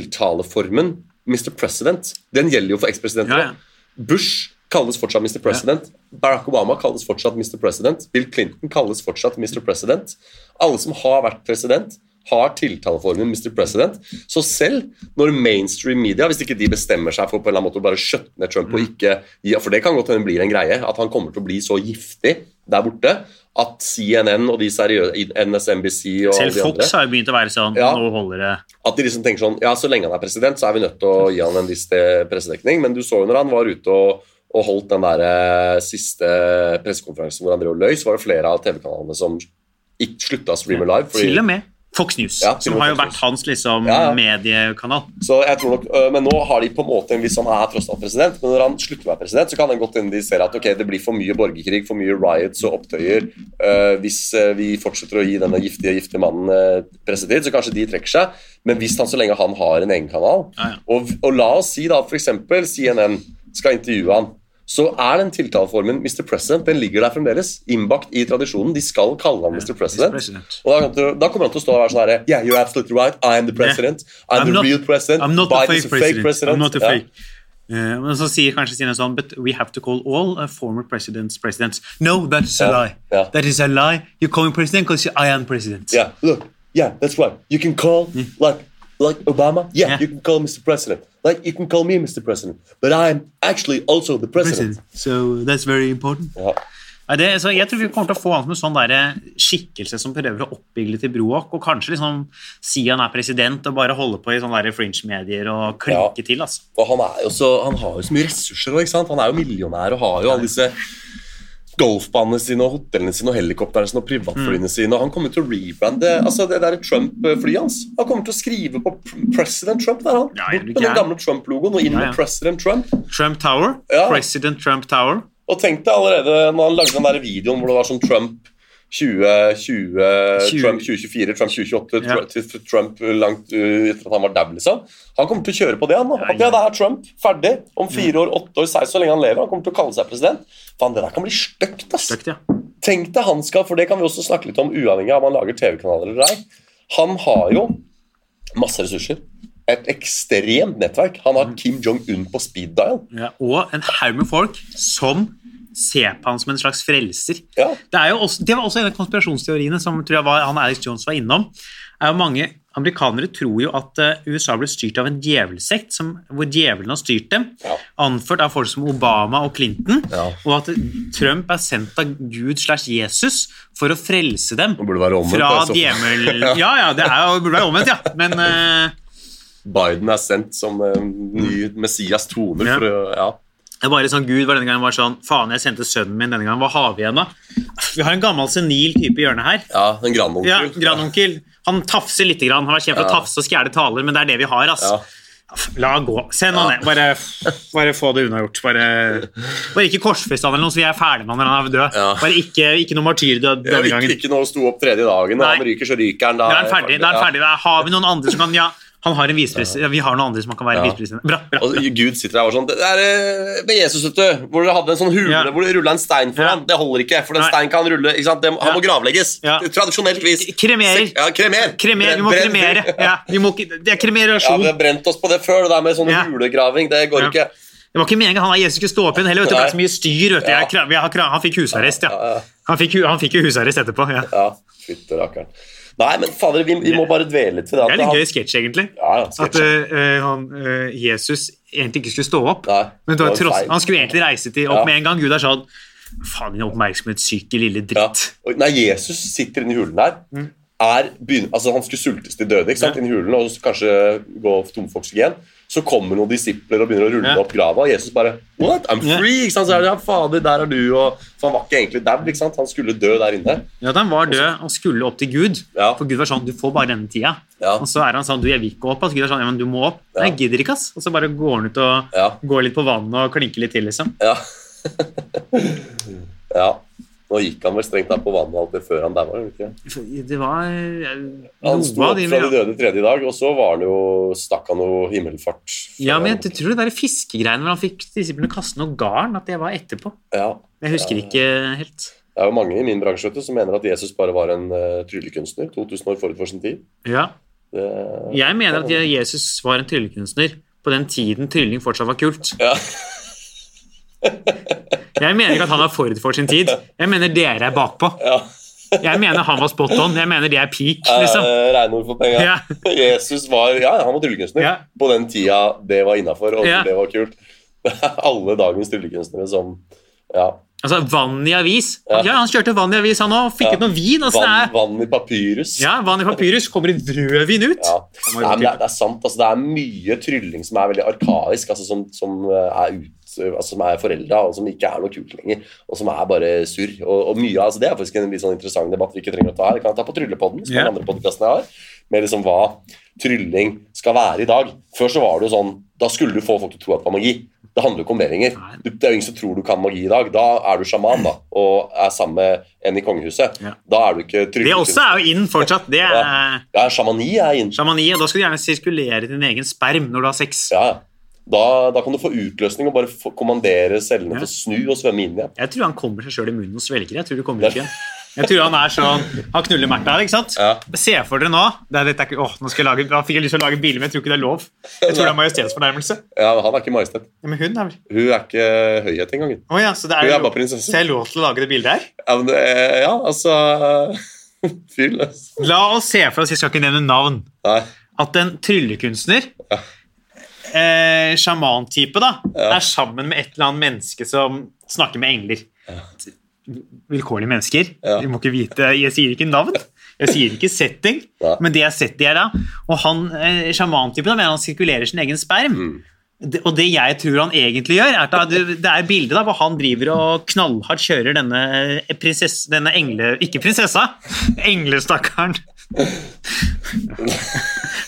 Speaker 3: tiltaleformen Mr. President, den gjelder jo for ekspresidenter.
Speaker 2: Ja, ja.
Speaker 3: Bush kalles fortsatt Mr. President. Barack Obama kalles fortsatt Mr. President. Bill Clinton kalles fortsatt Mr. President. Alle som har vært president, har tiltaleformen Mr. President. Så selv når mainstream media, hvis ikke de bestemmer seg for på en eller annen måte å bare skjøtte ned Trump
Speaker 2: Mm.
Speaker 3: og ikke gi For det kan godt hende blir en greie at han kommer til å bli så giftig der borte at CNN og de seriøse NSNBC og alle
Speaker 2: Selv
Speaker 3: de andre
Speaker 2: Fox har jo begynt å være sånn
Speaker 3: Ja.
Speaker 2: Nå holder det.
Speaker 3: at de liksom tenker sånn Ja, så lenge han er president, så er vi nødt til å gi han en viss eh, pressedekning. Men du så jo når han var ute og, og holdt den der eh, siste pressekonferansen hvor han drev og løy, så var det flere av TV-kanalene som ikke slutta å streame live. fordi-
Speaker 2: Til og med Fox News,
Speaker 3: Ja, til og
Speaker 2: som
Speaker 3: med
Speaker 2: har jo
Speaker 3: Fox
Speaker 2: vært hans liksom,
Speaker 3: Ja, ja.
Speaker 2: mediekanal.
Speaker 3: Så jeg tror nok, øh, Men nå har de på en måte en viss Han er tross alt president, men når han slutter å være president, så kan det godt hende de ser at ok, det blir for mye borgerkrig, for mye riots og opptøyer. øh, hvis øh, vi fortsetter å gi denne giftige, giftige mannen øh, pressetid, så kanskje de trekker seg. Men hvis han så lenge han har en egen kanal
Speaker 2: Ja, ja.
Speaker 3: Og, og la oss si da f.eks. CNN skal intervjue han. så er den tiltaleformen Mr. President den ligger der fremdeles. Innbakt i tradisjonen. De skal kalle ham Mr. President.
Speaker 2: President.
Speaker 3: Og da, kan du- da kommer han til å stå og være sånn herre Yeah, you're absolutely right. I am the president. I'm, the
Speaker 2: not-
Speaker 3: real president.
Speaker 2: I'm not a
Speaker 3: Biden's
Speaker 2: fake president. I'm not a
Speaker 3: Ja.
Speaker 2: fake. Eh, men så sier kanskje Stine sånn But we have to call all uh, former presidents presidents. No, that is a
Speaker 3: Ja,
Speaker 2: lie.
Speaker 3: ja.
Speaker 2: That is a lie. You're calling president because I am president.
Speaker 3: Yeah, look, yeah, that's right. You can call like like Obama. Yeah,
Speaker 2: Hmm. Yeah.
Speaker 3: you can call Mr. President. Like you can call me Mr. President. But I'm actually also the president.
Speaker 2: President. So that's very important.
Speaker 3: Ja.
Speaker 2: Nei, det, så jeg tror vi kommer til å få han som en sånn der skikkelse som prøver å oppvigle til Broak, og kanskje liksom si han er president og bare holde på i sånne der fringe-medier og klinke
Speaker 3: Ja.
Speaker 2: til. altså.
Speaker 3: Og han, er jo så, han har jo så mye ressurser også, ikke sant? Han er jo millionær og har jo alle disse golfbanene sine og hotellene sine og helikoptrene sine og
Speaker 2: Hmm.
Speaker 3: privatflyene sine. Og han kommer til å rebrande altså det der Trump-flyet hans. Han kommer til å skrive på pr- President Trump der, han.
Speaker 2: Ja, er du
Speaker 3: Bort med den
Speaker 2: gæren?
Speaker 3: gamle Trump-logoen og inn
Speaker 2: Ja,
Speaker 3: med
Speaker 2: ja.
Speaker 3: President Trump.
Speaker 2: Trump Tower.
Speaker 3: Ja.
Speaker 2: President Trump Tower.
Speaker 3: Og tenk deg allerede når han lagde den der videoen hvor det var sånn Trump 2020, Trump 2024, Trump 2028,
Speaker 2: Ja.
Speaker 3: Tru- til Trump langt uh, etter at han var dau, liksom. Han kommer til å kjøre på det, han. nå.
Speaker 2: Ja,
Speaker 3: At ja,
Speaker 2: ja.
Speaker 3: det er Trump. Ferdig. Om fire år, åtte år, 16, så lenge han lever. Han kommer til å kalle seg president. Faen, det der kan bli støkt, ass.
Speaker 2: Støkt, ja.
Speaker 3: Tenk deg han skal, for det kan vi også snakke litt om, uavhengig av om han lager TV-kanaler eller ei. Han har jo masse ressurser. Et ekstremt nettverk. Han
Speaker 2: Mm.
Speaker 3: har Kim Jong-un på speed dial.
Speaker 2: Ja, og en haug med folk som ser på han som en slags frelser.
Speaker 3: Ja.
Speaker 2: Det, er jo også, det var også en av konspirasjonsteoriene som tror jeg var, han Alex Jones var innom. er jo mange Amerikanere tror jo at eh, USA ble styrt av en djevelsekt, som, hvor djevelen har styrt dem,
Speaker 3: Ja.
Speaker 2: anført av folk som Obama og Clinton,
Speaker 3: Ja.
Speaker 2: og at Trump er sendt av Gud slash Jesus for å frelse dem
Speaker 3: burde være omvendt,
Speaker 2: fra
Speaker 3: altså.
Speaker 2: djevel... Ja, ja, det er jo, burde være omvendt, ja. Men eh,
Speaker 3: Biden er sendt som eh, ny Messias toner
Speaker 2: Mm. Ja.
Speaker 3: for å ja.
Speaker 2: Det er bare sånn, Gud var denne gangen var sånn Faen, jeg sendte sønnen min denne gangen. Hva har vi igjen, da? Vi har en gammel senil type i hjørnet her.
Speaker 3: ja, en grandonkel.
Speaker 2: Ja, Grandonkel. Han tafser lite grann. Han var kjent for å
Speaker 3: Ja.
Speaker 2: tafse og skjære taler, men det er det vi har. ass.
Speaker 3: Ja.
Speaker 2: La gå. Send han ned. Bare, bare få det unnagjort. Bare, bare ikke korsfest han eller noe, så vi er ferdig med han når han er død.
Speaker 3: Ja.
Speaker 2: Bare ikke, ikke noe martyrdød
Speaker 3: Ja,
Speaker 2: denne
Speaker 3: ikke,
Speaker 2: gangen.
Speaker 3: ikke noe sto opp tredje dagen, og
Speaker 2: Nei.
Speaker 3: han ryker, så ryker han. Da
Speaker 2: Da er han ferdig. Da er han
Speaker 3: ja.
Speaker 2: ferdig. Da har vi noen andre som kan Ja, han har en visepresident. Ja, vi har noen andre som han kan være
Speaker 3: Ja.
Speaker 2: visepresident. Bra, bra.
Speaker 3: Og Gud sitter der og er sånn Det er eh, med Jesus, vet du, hvor dere hadde en sånn hule
Speaker 2: Ja.
Speaker 3: hvor det rulla en stein for
Speaker 2: Ja.
Speaker 3: ham. Det holder ikke, for den
Speaker 2: Nei.
Speaker 3: steinen kan rulle ikke sant? Det, må-
Speaker 2: Ja.
Speaker 3: Han må gravlegges.
Speaker 2: Ja.
Speaker 3: Tradisjonelt vis.
Speaker 2: Kremerer.
Speaker 3: Sek- Ja, kremer.
Speaker 2: Kremer, vi må
Speaker 3: Brenn-
Speaker 2: kremere. Ja, vi må ikke, det er
Speaker 3: Ja,
Speaker 2: kremerasjon.
Speaker 3: vi har brent oss på det før, det der med sånn
Speaker 2: Ja.
Speaker 3: hulegraving. Det går
Speaker 2: Ja.
Speaker 3: ikke.
Speaker 2: Det var ikke meningen han og Jesus skulle stå opp igjen heller. Vet du, det er så mye styr. Vet du. Jeg, kra- jeg, har kra- han fikk husarrest,
Speaker 3: Ja,
Speaker 2: ja.
Speaker 3: ja.
Speaker 2: Han fikk, hu- han fikk jo husarrest etterpå. Ja.
Speaker 3: Ja, fytte rakkeren. Nei, men fader, vi, vi må bare dvele
Speaker 2: Det
Speaker 3: litt ved det.
Speaker 2: er litt
Speaker 3: han-
Speaker 2: gøy sketsj, egentlig.
Speaker 3: Ja, ja, sketsj.
Speaker 2: At eh, han, eh, Jesus egentlig ikke skulle stå opp.
Speaker 3: Nei,
Speaker 2: men det var
Speaker 3: det var
Speaker 2: tross,
Speaker 3: feil.
Speaker 2: han skulle egentlig reise til opp
Speaker 3: Ja.
Speaker 2: med en gang. Gud er sånn Faen, din oppmerksomhetssyke lille dritt.
Speaker 3: Ja. Og- Nei, Jesus sitter inni hulen der.
Speaker 2: Mm.
Speaker 3: Er, begynner, altså Han skulle sultes til døde ikke sant? inni hulen og så kanskje gå tom for oksygen. Så kommer noen disipler og begynner å rulle
Speaker 2: Ja.
Speaker 3: opp grava, og Jesus bare What? I'm
Speaker 2: Ja.
Speaker 3: free! ikke sant? Så er det, ja, fader, der er du, og For han var ikke egentlig dau, ikke sant? han skulle dø der inne.
Speaker 2: Ja, at han var død og skulle opp til Gud.
Speaker 3: Ja.
Speaker 2: For Gud var sånn Du får bare denne tida.
Speaker 3: Ja.
Speaker 2: Og så er han sånn Du, jeg vil ikke opp. ass. Gud er sånn Ja, men du må opp.
Speaker 3: Ja.
Speaker 2: Nei, jeg gidder ikke, ass. Og så bare går han ut og
Speaker 3: Ja.
Speaker 2: går litt på vannet og klinker litt til, liksom.
Speaker 3: Ja. ja. Nå gikk han vel strengt der på vannet og alt det før han daua. gjorde han ikke?
Speaker 2: Det var eh,
Speaker 3: Han sto
Speaker 2: noe av
Speaker 3: opp
Speaker 2: de
Speaker 3: fra de døde tredje dag, og så var han jo, stakk han noe himmelfart. fra-
Speaker 2: Ja, men jeg tror det der fiskegreiene hvor han fikk disiplene kaste noe garn, at det var etterpå.
Speaker 3: ja.
Speaker 2: Jeg husker ikke helt.
Speaker 3: Det er jo mange i min bransje vet du, som mener at Jesus bare var en uh, tryllekunstner 2000 år forut for sin tid.
Speaker 2: Ja.
Speaker 3: Det,
Speaker 2: Jeg mener at Jesus var en tryllekunstner på den tiden trylling fortsatt var kult.
Speaker 3: Ja.
Speaker 2: Jeg mener ikke at han er forut for sin tid. Jeg mener dere er bakpå.
Speaker 3: ja.
Speaker 2: Jeg mener han var spot on. Jeg mener det er peak,
Speaker 3: Eh,
Speaker 2: liksom.
Speaker 3: Reinhold for penga.
Speaker 2: Ja.
Speaker 3: Jesus var ja, han var tryllekunstner
Speaker 2: Ja.
Speaker 3: på den tida det var innafor, og
Speaker 2: Ja.
Speaker 3: det var kult. Det er alle dagens tryllekunstnere som ja,
Speaker 2: Altså, vann i avis. Ja, han kjørte vann i avis, han òg. Fikk ut noe vin. Altså, det
Speaker 3: vann,
Speaker 2: er
Speaker 3: vann i papyrus.
Speaker 2: ja, vann i papyrus. Kommer det rødvin ut?
Speaker 3: Ja.
Speaker 2: Han var
Speaker 3: Nei, men det,
Speaker 2: god
Speaker 3: er, det er sant. Altså, det er mye trylling som er veldig arkaisk, altså, som, som eh, er ut, altså, som er forelda, og som ikke er noe kult lenger. Og som er bare surr. Og, og mye av altså, Det er faktisk en litt sånn interessant debatt vi ikke trenger å ta her. Vi kan ta på Tryllepodden, som er
Speaker 2: Ja.
Speaker 3: den andre podkasten jeg har, med liksom hva trylling skal være i dag. Før så var det jo sånn Da skulle du få folk til å tro at det var magi. Det handler jo ikke om det lenger.
Speaker 2: Nei.
Speaker 3: Du, det er jo ingen som tror du kan magi i dag. Da er du sjaman da, og er sammen med en i kongehuset.
Speaker 2: Ja.
Speaker 3: Da er du ikke
Speaker 2: Det også
Speaker 3: tryllekunstner.
Speaker 2: er jo inn fortsatt. Det er
Speaker 3: Ja, sjamani er inn.
Speaker 2: Sjamani, og da skal du gjerne sirkulere din egen sperm når du har sex.
Speaker 3: Ja, ja. Da, da kan du få utløsning og bare få, kommandere cellene
Speaker 2: Ja.
Speaker 3: til å snu og svømme inn igjen.
Speaker 2: Jeg tror han kommer seg sjøl i munnen og svelger. Jeg tror det kommer ikke igjen. Jeg tror han er sånn Han knuller Märtha her, ikke sant?
Speaker 3: Ja.
Speaker 2: Se for dere nå det er, dette er ikke, åh, nå skal jeg lage, Da fikk jeg lyst til å lage biler, men jeg tror ikke det er lov. Jeg tror det er majestetsfornærmelse.
Speaker 3: Ja, Han er ikke majestet.
Speaker 2: Ja, men hun er vel
Speaker 3: Hun er ikke høyhet engang.
Speaker 2: Å ja, så det
Speaker 3: Hun
Speaker 2: er,
Speaker 3: er bare
Speaker 2: lov-
Speaker 3: prinsesse.
Speaker 2: så jeg er lov til å lage det bildet her?
Speaker 3: Ja, men, det- ja altså Fyr løs.
Speaker 2: La oss se for oss, jeg skal ikke nevne navn,
Speaker 3: Nei.
Speaker 2: at en tryllekunstner
Speaker 3: Ja.
Speaker 2: Eh, Sjamantype, da.
Speaker 3: Ja.
Speaker 2: Er sammen med et eller annet menneske som snakker med engler. Vilkårlige mennesker.
Speaker 3: Ja.
Speaker 2: Vi må ikke vite Jeg sier ikke navn. Jeg sier ikke setting,
Speaker 3: Nei.
Speaker 2: men det jeg setter er da Og han eh, sjamantypen da, mener han sirkulerer sin egen sperm.
Speaker 3: Mm.
Speaker 2: Det, og det jeg tror han egentlig gjør, er at da, det, det er et bilde da, hvor han driver og knallhardt kjører denne prinsesse... Denne engle... Ikke prinsessa! Englestakkaren.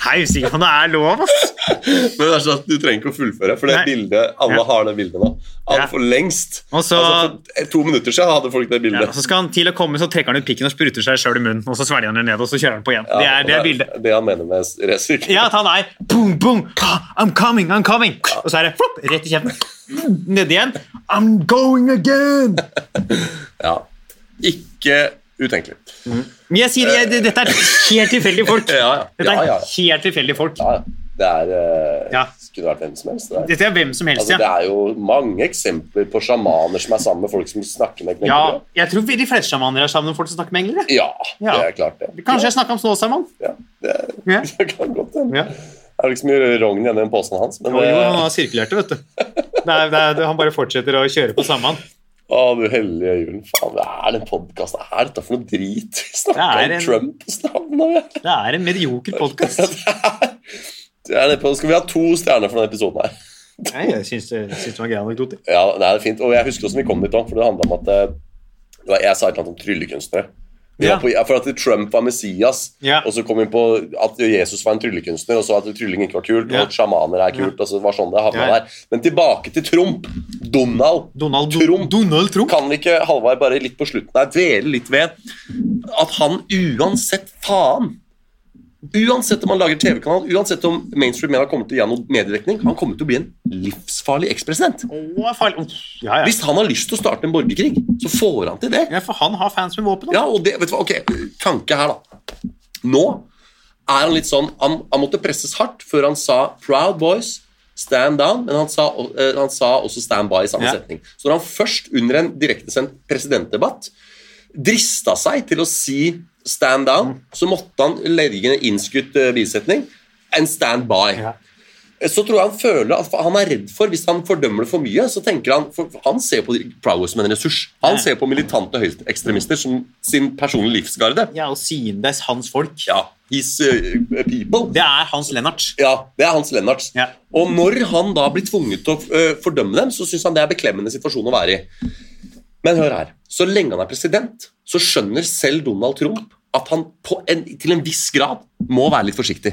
Speaker 2: Hei, usikker på om det er lov, ass!
Speaker 3: Men det er sånn at du trenger ikke å fullføre, for det
Speaker 2: Nei.
Speaker 3: bildet, alle
Speaker 2: Ja.
Speaker 3: har det bildet nå. Alle
Speaker 2: Ja.
Speaker 3: for lengst.
Speaker 2: Og så-
Speaker 3: altså, for to minutter siden hadde folk det
Speaker 2: Ja, og
Speaker 3: bildet.
Speaker 2: så skal han til å komme, så trekker han ut pikken og spruter seg sjøl i munnen. Og så svelger han den ned, og så kjører han på igjen. Det
Speaker 3: Ja,
Speaker 2: er, det er bildet.
Speaker 3: Det han mener med resirkuling.
Speaker 2: Ja, at han er boom, boom, ah, I'm coming, I'm coming. Og så er det flopp, rett i kjeften. Nedi igjen. I'm going again.
Speaker 3: Ja. Ikke utenkelig.
Speaker 2: Men jeg sier, jeg, dette er helt tilfeldige folk.
Speaker 3: Ja, ja.
Speaker 2: Dette
Speaker 3: Ja, ja,
Speaker 2: er
Speaker 3: ja.
Speaker 2: helt tilfeldige folk.
Speaker 3: Ja, ja. Det er eh,
Speaker 2: Ja.
Speaker 3: Skulle vært hvem som helst. Det, der.
Speaker 2: Dette er hvem som helst,
Speaker 3: altså, det
Speaker 2: ja.
Speaker 3: er jo mange eksempler på sjamaner som er sammen med folk som snakker med
Speaker 2: Ja,
Speaker 3: knekkebrød.
Speaker 2: jeg tror de fleste sjamaner er sammen med folk som snakker med engler. jeg.
Speaker 3: Ja,
Speaker 2: Ja.
Speaker 3: det er klart, det.
Speaker 2: Kanskje jeg snakka om snåsamann.
Speaker 3: Ja, det, er-
Speaker 2: Ja.
Speaker 3: det kan godt hende.
Speaker 2: Ja.
Speaker 3: Det er liksom rogn igjen i den posen hans, men
Speaker 2: Og jo, han
Speaker 3: eh,
Speaker 2: har sirkulert det, vet du. Det er, det er, han bare fortsetter å kjøre på samme han.
Speaker 3: å, du hellige julen. Faen, hva er den podkasten? Hva er dette for noe drit? Vi snakker
Speaker 2: Det er
Speaker 3: om
Speaker 2: en-
Speaker 3: Trumps navn nå, ja.
Speaker 2: Det er en medioker podkast.
Speaker 3: Det er det på- Skal vi ha to stjerner for denne episoden her?
Speaker 2: Nei, jeg syns det, jeg syns det var en grei anekdote.
Speaker 3: Ja, det er fint. Og jeg husker også vi kom dit òg, for det handla om at eh, det var, jeg sa et eller annet om tryllekunstnere. Vi
Speaker 2: Ja.
Speaker 3: var På, ja, for at Trump var Messias,
Speaker 2: Ja.
Speaker 3: og så kom vi inn på at Jesus var en tryllekunstner, og så at trylling ikke var kult,
Speaker 2: Ja.
Speaker 3: og at sjamaner er kult. og så var sånn det havna
Speaker 2: Ja.
Speaker 3: der. Men tilbake til Trump. Donald.
Speaker 2: Donald
Speaker 3: Trump.
Speaker 2: Donald Trump.
Speaker 3: Kan vi ikke, Halvard, bare litt på slutten her, dvele litt ved at han uansett faen Uansett om han lager TV-kanal, uansett om mainstream media kommer til å gi han noe mediedekning, han kommer til å bli en livsfarlig ekspresident.
Speaker 2: Å, farlig. Uff, Ja, ja.
Speaker 3: Hvis han har lyst til å starte en borgerkrig, så får han til det.
Speaker 2: ja, for han har fans med våpen. da.
Speaker 3: Ja, og det, vet du hva, ok, Tanke her, da. Nå er han litt sånn Han, han måtte presses hardt før han sa 'Proud Boys', 'Stand Down', men han sa, eh, han sa også 'Stand By' i samme
Speaker 2: Ja.
Speaker 3: setning. Så når han først under en direktesendt presidentdebatt drista seg til å si 'Stand Down',
Speaker 2: Mm.
Speaker 3: så måtte han legge en innskutt eh, bisetning. En stand by. Eh,
Speaker 2: Ja.
Speaker 3: Så tror jeg han føler at han er redd for Hvis han fordømmer det for mye, så tenker han for Han ser på Proud Boys som en ressurs. Han
Speaker 2: Ja.
Speaker 3: ser på militante høyreekstremister som sin personlige livsgarde.
Speaker 2: Ja, og siden det er hans folk.
Speaker 3: Ja, his uh, people.
Speaker 2: Det er Hans Lennart.
Speaker 3: Ja, det er Hans Lennarts.
Speaker 2: Ja.
Speaker 3: Og når han da blir tvunget til å uh, fordømme dem, så syns han det er beklemmende situasjon å være i. Men hør her. Så lenge han er president, så skjønner selv Donald Trump at han på en, til en viss grad må være litt forsiktig.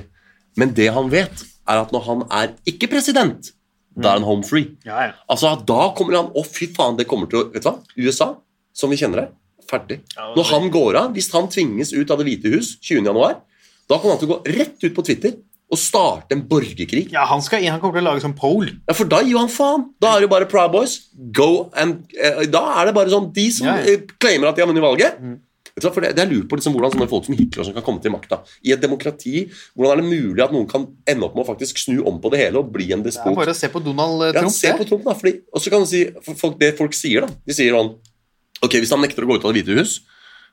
Speaker 3: Men det han vet, er at når han er ikke president, da er han home free.
Speaker 2: Ja, ja.
Speaker 3: Altså, da kommer han Å, fy faen, det kommer til å Vet du hva? USA, som vi kjenner det, ferdig.
Speaker 2: Ja, det-
Speaker 3: Når han går av, hvis han tvinges ut av Det hvite hus 20. januar, da kommer han til å gå rett ut på Twitter og starte en borgerkrig.
Speaker 2: Ja, han, skal, han kommer til å lage sånn pole.
Speaker 3: Ja, for da gir han faen. Da er det jo bare Proud Boys. Go and eh, Da er det bare sånn De som
Speaker 2: Ja, ja. Mm.
Speaker 3: eh, claimer at de har vunnet valget Vet du hva, for det, det er lurt på liksom hvordan sånne folk som Hitler og sånn kan komme til makta. I et demokrati, hvordan er det mulig at noen kan ende opp med å faktisk snu om på det hele og bli en
Speaker 2: Det er
Speaker 3: despot?
Speaker 2: bare å se på Donald eh,
Speaker 3: Ja,
Speaker 2: Trump.
Speaker 3: se på
Speaker 2: det.
Speaker 3: Trump, da. Fordi, og så kan du si for folk, Det folk sier, da. De sier sånn Ok, hvis han nekter å gå ut av Det hvite hus,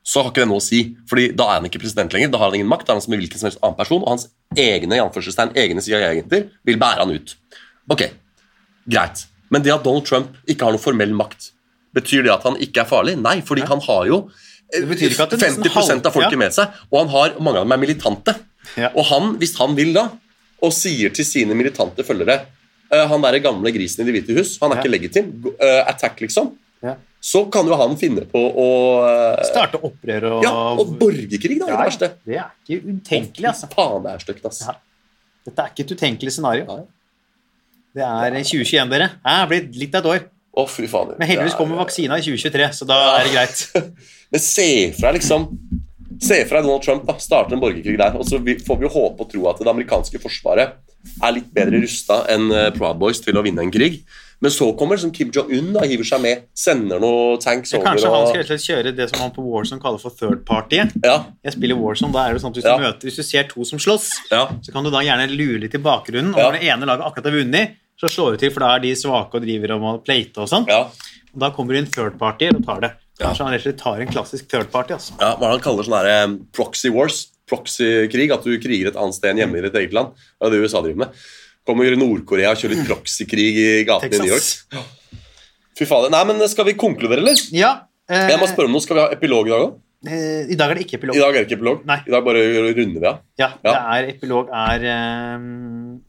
Speaker 3: så har ikke det noe å si. Fordi da er han ikke president lenger. Da har han ingen makt. Da er han som en hvilken som helst annen person, og hans egne i anførselstegn, egne CIA-agenter vil bære han ut. Ok, greit. Men det at Donald Trump ikke har noen formell makt, betyr det at han ikke er farlig? Nei, fordi han har jo eh,
Speaker 2: Det betyr ikke at det er nesten
Speaker 3: 50 av
Speaker 2: halv-
Speaker 3: folket
Speaker 2: ja.
Speaker 3: med seg, og han har, mange av dem er militante.
Speaker 2: Ja.
Speaker 3: Og han, hvis han vil da, og sier til sine militante følgere eh, Han derre gamle grisen i Det hvite hus, han er
Speaker 2: Ja.
Speaker 3: ikke legitim. go- eh, attack, liksom.
Speaker 2: Ja.
Speaker 3: Så kan jo han finne på å eh,
Speaker 2: Starte opprør og
Speaker 3: Ja, og borgerkrig, da,
Speaker 2: Ja,
Speaker 3: i det verste.
Speaker 2: Det er ikke utenkelig, altså.
Speaker 3: Faen, det er stygt, ass.
Speaker 2: Ja. Dette er ikke et utenkelig scenario.
Speaker 3: Nei.
Speaker 2: Det er eh, 2021, dere. Det er blitt litt av et år.
Speaker 3: Å, fy fader.
Speaker 2: Men heldigvis
Speaker 3: Det er-
Speaker 2: kommer vaksina i 2023, så da er det greit.
Speaker 3: Men se for deg liksom Se for deg Donald Trump da, starter en borgerkrig der, og så vi- får vi jo håpe og tro at det amerikanske forsvaret er litt bedre rusta enn eh, Proud Boys til å vinne en krig. Men så kommer liksom Kim Jong-un da, hiver seg med, sender noen tanks over.
Speaker 2: Kanskje han skal
Speaker 3: og,
Speaker 2: rett og slett kjøre det som han på Warzone kaller for third party.
Speaker 3: ja,
Speaker 2: Jeg spiller Warzone, da er det sånn at hvis du,
Speaker 3: Ja.
Speaker 2: møter, hvis du ser to som slåss,
Speaker 3: ja,
Speaker 2: så kan du da gjerne lure litt i bakgrunnen. Og
Speaker 3: Ja.
Speaker 2: når det ene laget akkurat har vunnet, så slår du til, for da er de svake og driver om å plate og sånn.
Speaker 3: ja,
Speaker 2: Og da kommer det en third party og tar det.
Speaker 3: Ja.
Speaker 2: Kanskje han rett og slett tar en klassisk third party. Altså.
Speaker 3: ja, Hva er det han kaller sånn her, eh, proxy wars? Proxy-krig? At du kriger et annet sted enn hjemme i ditt eget land? Det er det USA driver med. Kommer i Nord-Korea og kjører litt proxy-krig i gatene i New York.
Speaker 2: Texas.
Speaker 3: Fy fader. Nei, men skal vi konkludere, eller?
Speaker 2: Ja. eh,
Speaker 3: Jeg må spørre om noe. Skal vi ha epilog i dag òg?
Speaker 2: eh, I dag er det ikke
Speaker 3: I
Speaker 2: epilog.
Speaker 3: dag er det ikke epilog.
Speaker 2: Nei.
Speaker 3: I dag bare runder vi av.
Speaker 2: Ja,
Speaker 3: Ja.
Speaker 2: det er epilog er eh,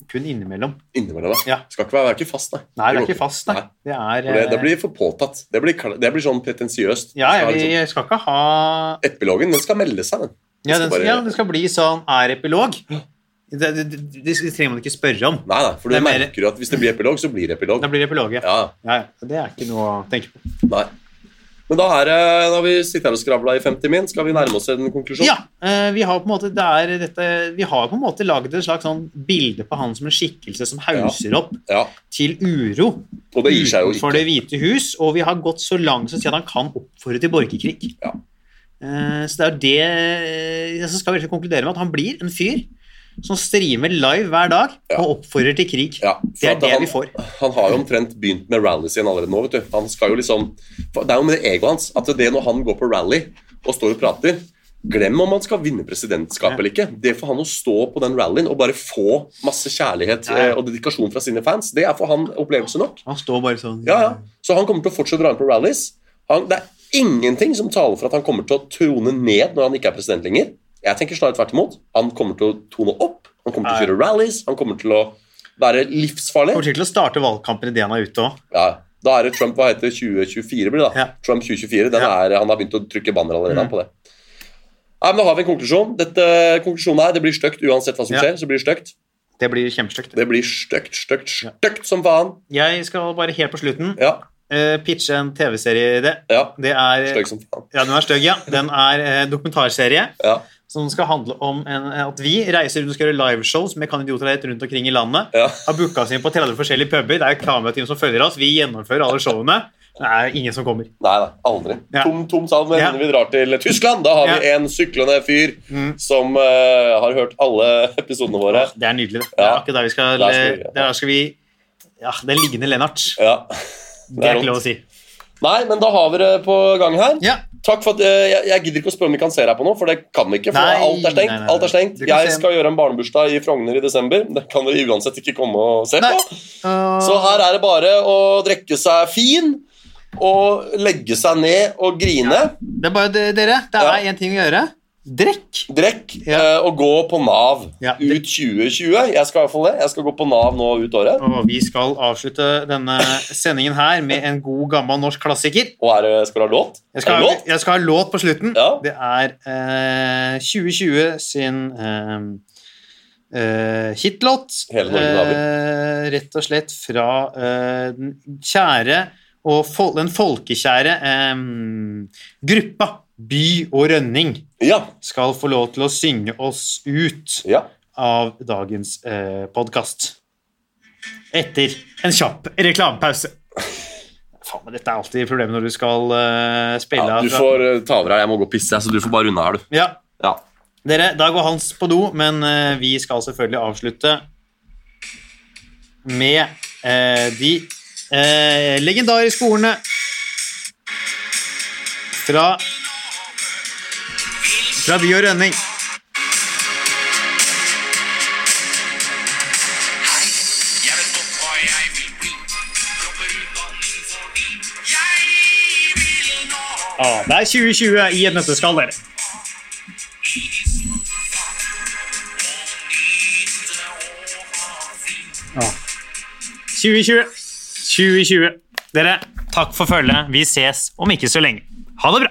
Speaker 2: kun innimellom.
Speaker 3: Innimellom. da.
Speaker 2: Ja.
Speaker 3: Skal ikke være, være ikke fast, nei.
Speaker 2: Nei, det er
Speaker 3: går
Speaker 2: ikke fast, nei. Det er
Speaker 3: For Det, det
Speaker 2: eh,
Speaker 3: blir for påtatt. Det blir, kla- det blir sånn pretensiøst.
Speaker 2: Ja,
Speaker 3: Det skal
Speaker 2: vi
Speaker 3: liksom-
Speaker 2: skal ikke ha
Speaker 3: Epilogen den skal melde seg, den.
Speaker 2: Ja,
Speaker 3: skal
Speaker 2: den, ja,
Speaker 3: bare-
Speaker 2: det skal bli sånn er epilog. Det, det, det, det trenger man ikke spørre om.
Speaker 3: Nei, nei, for du
Speaker 2: Det er mer-
Speaker 3: merker jo at hvis det blir epilog, så blir det epilog.
Speaker 2: Da blir det epilog, ja.
Speaker 3: Ja,
Speaker 2: Ja, ja. Det er ikke noe å tenke på.
Speaker 3: nei. Men da, er, det- da har vi sittet her og skravla i 50 min. Skal vi nærme oss en konklusjon?
Speaker 2: Ja, eh, vi har på en måte det er dette, Vi har på en måte lagd et slags sånn bilde på han som en skikkelse som hauser opp
Speaker 3: Ja,
Speaker 2: til uro
Speaker 3: Og det gir seg jo
Speaker 2: utenfor
Speaker 3: ikke.
Speaker 2: Det hvite hus, og vi har gått så langt som å si at han kan oppfordre til borgerkrig.
Speaker 3: Ja.
Speaker 2: Eh, Så det er jo det eh, Så skal vi rett og slett konkludere med at han blir en fyr som streamer live hver dag
Speaker 3: Ja.
Speaker 2: og oppfordrer til krig.
Speaker 3: Ja, for
Speaker 2: Det er
Speaker 3: at
Speaker 2: det
Speaker 3: han,
Speaker 2: vi får.
Speaker 3: Han har jo omtrent begynt med rally igjen allerede nå. vet du. Han skal jo liksom, for Det er jo med det egoet hans at det når han går på rally og står og prater Glem om han skal vinne presidentskapet
Speaker 2: Ja.
Speaker 3: eller ikke. Det for han å stå på den rallyen og bare få masse kjærlighet
Speaker 2: Ja, ja.
Speaker 3: eh, og dedikasjon fra sine fans, det er for han opplevelse nok.
Speaker 2: Han står bare sånn
Speaker 3: Ja, ja. Så han kommer til å fortsette å dra inn på rallies. Han, det er ingenting som taler for at han kommer til å trone ned når han ikke er president lenger. Jeg tenker snarere tvert imot. Han kommer til å tone opp, han kommer til å kjøre rallies, han kommer til å være livsfarlig.
Speaker 2: Kommer sikkert til å starte valgkampen idet han er ute òg.
Speaker 3: Ja, da er det Trump hva heter det? 2024 blir det da.
Speaker 2: Ja.
Speaker 3: Trump 2024, den
Speaker 2: Ja. Mm.
Speaker 3: er, Han har begynt å trykke banner allerede han, på det. Nei, men Da har vi en konklusjon. Dette, konklusjonen er, Det blir stygt uansett hva som
Speaker 2: Ja.
Speaker 3: skjer. så blir Det stygt.
Speaker 2: Det blir kjempestygt.
Speaker 3: Det blir stygt, stygt, stygt som faen.
Speaker 2: Jeg skal bare helt på slutten
Speaker 3: Ja,
Speaker 2: eh, pitche en TV-serie-idé.
Speaker 3: ja.
Speaker 2: Det er
Speaker 3: Stygt som faen.
Speaker 2: Ja, den er stygg, ja. Den er eh, dokumentarserie
Speaker 3: Ja,
Speaker 2: som skal handle om en, eh, at vi reiser rundt og skal gjøre liveshows med kandidater rundt omkring i landet.
Speaker 3: ja.
Speaker 2: Har booka oss inn på 30 forskjellige puber. Det er jo kamerateam som følger oss. Vi gjennomfører alle showene. Det er ingen som kommer.
Speaker 3: Nei, nei, aldri.
Speaker 2: Ja.
Speaker 3: Tom, tom sal, men
Speaker 2: Ja.
Speaker 3: vi drar til Tyskland. Da har vi en syklende fyr
Speaker 2: Mm.
Speaker 3: som eh, har hørt alle episodene våre.
Speaker 2: Det er nydelig. Det, det er
Speaker 3: Ja.
Speaker 2: akkurat der vi skal
Speaker 3: Der
Speaker 2: eh,
Speaker 3: skal vi- ja.
Speaker 2: Der skal vi Ja, den liggende Lennart.
Speaker 3: Ja.
Speaker 2: Det er
Speaker 3: rått.
Speaker 2: ikke lov å si.
Speaker 3: Nei, men da har vi det på gang her.
Speaker 2: Ja.
Speaker 3: Takk for at eh, jeg, jeg gidder ikke å spørre om vi kan se deg på noe, for det kan vi ikke. For
Speaker 2: Nei,
Speaker 3: alt er stengt.
Speaker 2: nei, nei,
Speaker 3: alt er stengt.
Speaker 2: du kan
Speaker 3: Jeg
Speaker 2: se-
Speaker 3: skal gjøre en barnebursdag i Frogner i desember. Det kan dere uansett ikke komme og se
Speaker 2: Nei.
Speaker 3: på. Så her er det bare å drikke seg fin og legge seg ned og grine.
Speaker 2: Det er bare det, dere. Det
Speaker 3: Ja.
Speaker 2: er én ting å gjøre. Drekk.
Speaker 3: Drekk
Speaker 2: Ja.
Speaker 3: eh, og gå på Nav
Speaker 2: Ja, det-
Speaker 3: ut 2020. Jeg skal i hvert fall det. Jeg skal gå på Nav nå ut året.
Speaker 2: Og vi skal avslutte denne sendingen her med en god, gammel norsk klassiker.
Speaker 3: Og er, det- skal du ha låt?
Speaker 2: Jeg skal,
Speaker 3: Er det
Speaker 2: ha,
Speaker 3: låt?
Speaker 2: jeg skal ha låt på slutten.
Speaker 3: Ja.
Speaker 2: Det er eh, 2020 sin eh, eh, hitlåt.
Speaker 3: Hele Norge
Speaker 2: Eh, rett og slett fra eh, den kjære og fol den folkekjære eh, gruppa By og Rønning
Speaker 3: Ja.
Speaker 2: skal få lov til å synge oss ut
Speaker 3: ja.
Speaker 2: av dagens eh, podkast. Etter en kjapp reklamepause. Faen, men dette er alltid problemet når du skal eh, spille.
Speaker 3: ja. Du
Speaker 2: altså.
Speaker 3: får eh, ta over her. Jeg må gå og pisse, så du får bare unna her, du.
Speaker 2: Ja.
Speaker 3: Ja.
Speaker 2: Dere, da går Hans på do, men eh, vi skal selvfølgelig avslutte med eh, de eh, legendariske ordene fra fra By og Rønning.
Speaker 1: Hei, jeg vet godt hva jeg vil bli. Dropper utdanning fordi jeg vil nå
Speaker 2: Ja, det er 2020 i et nøtteskall, dere.
Speaker 1: i sofaen og nyte å ha fri.
Speaker 2: 2020. 2020. Dere, takk for følget. Vi ses om ikke så lenge. Ha det bra.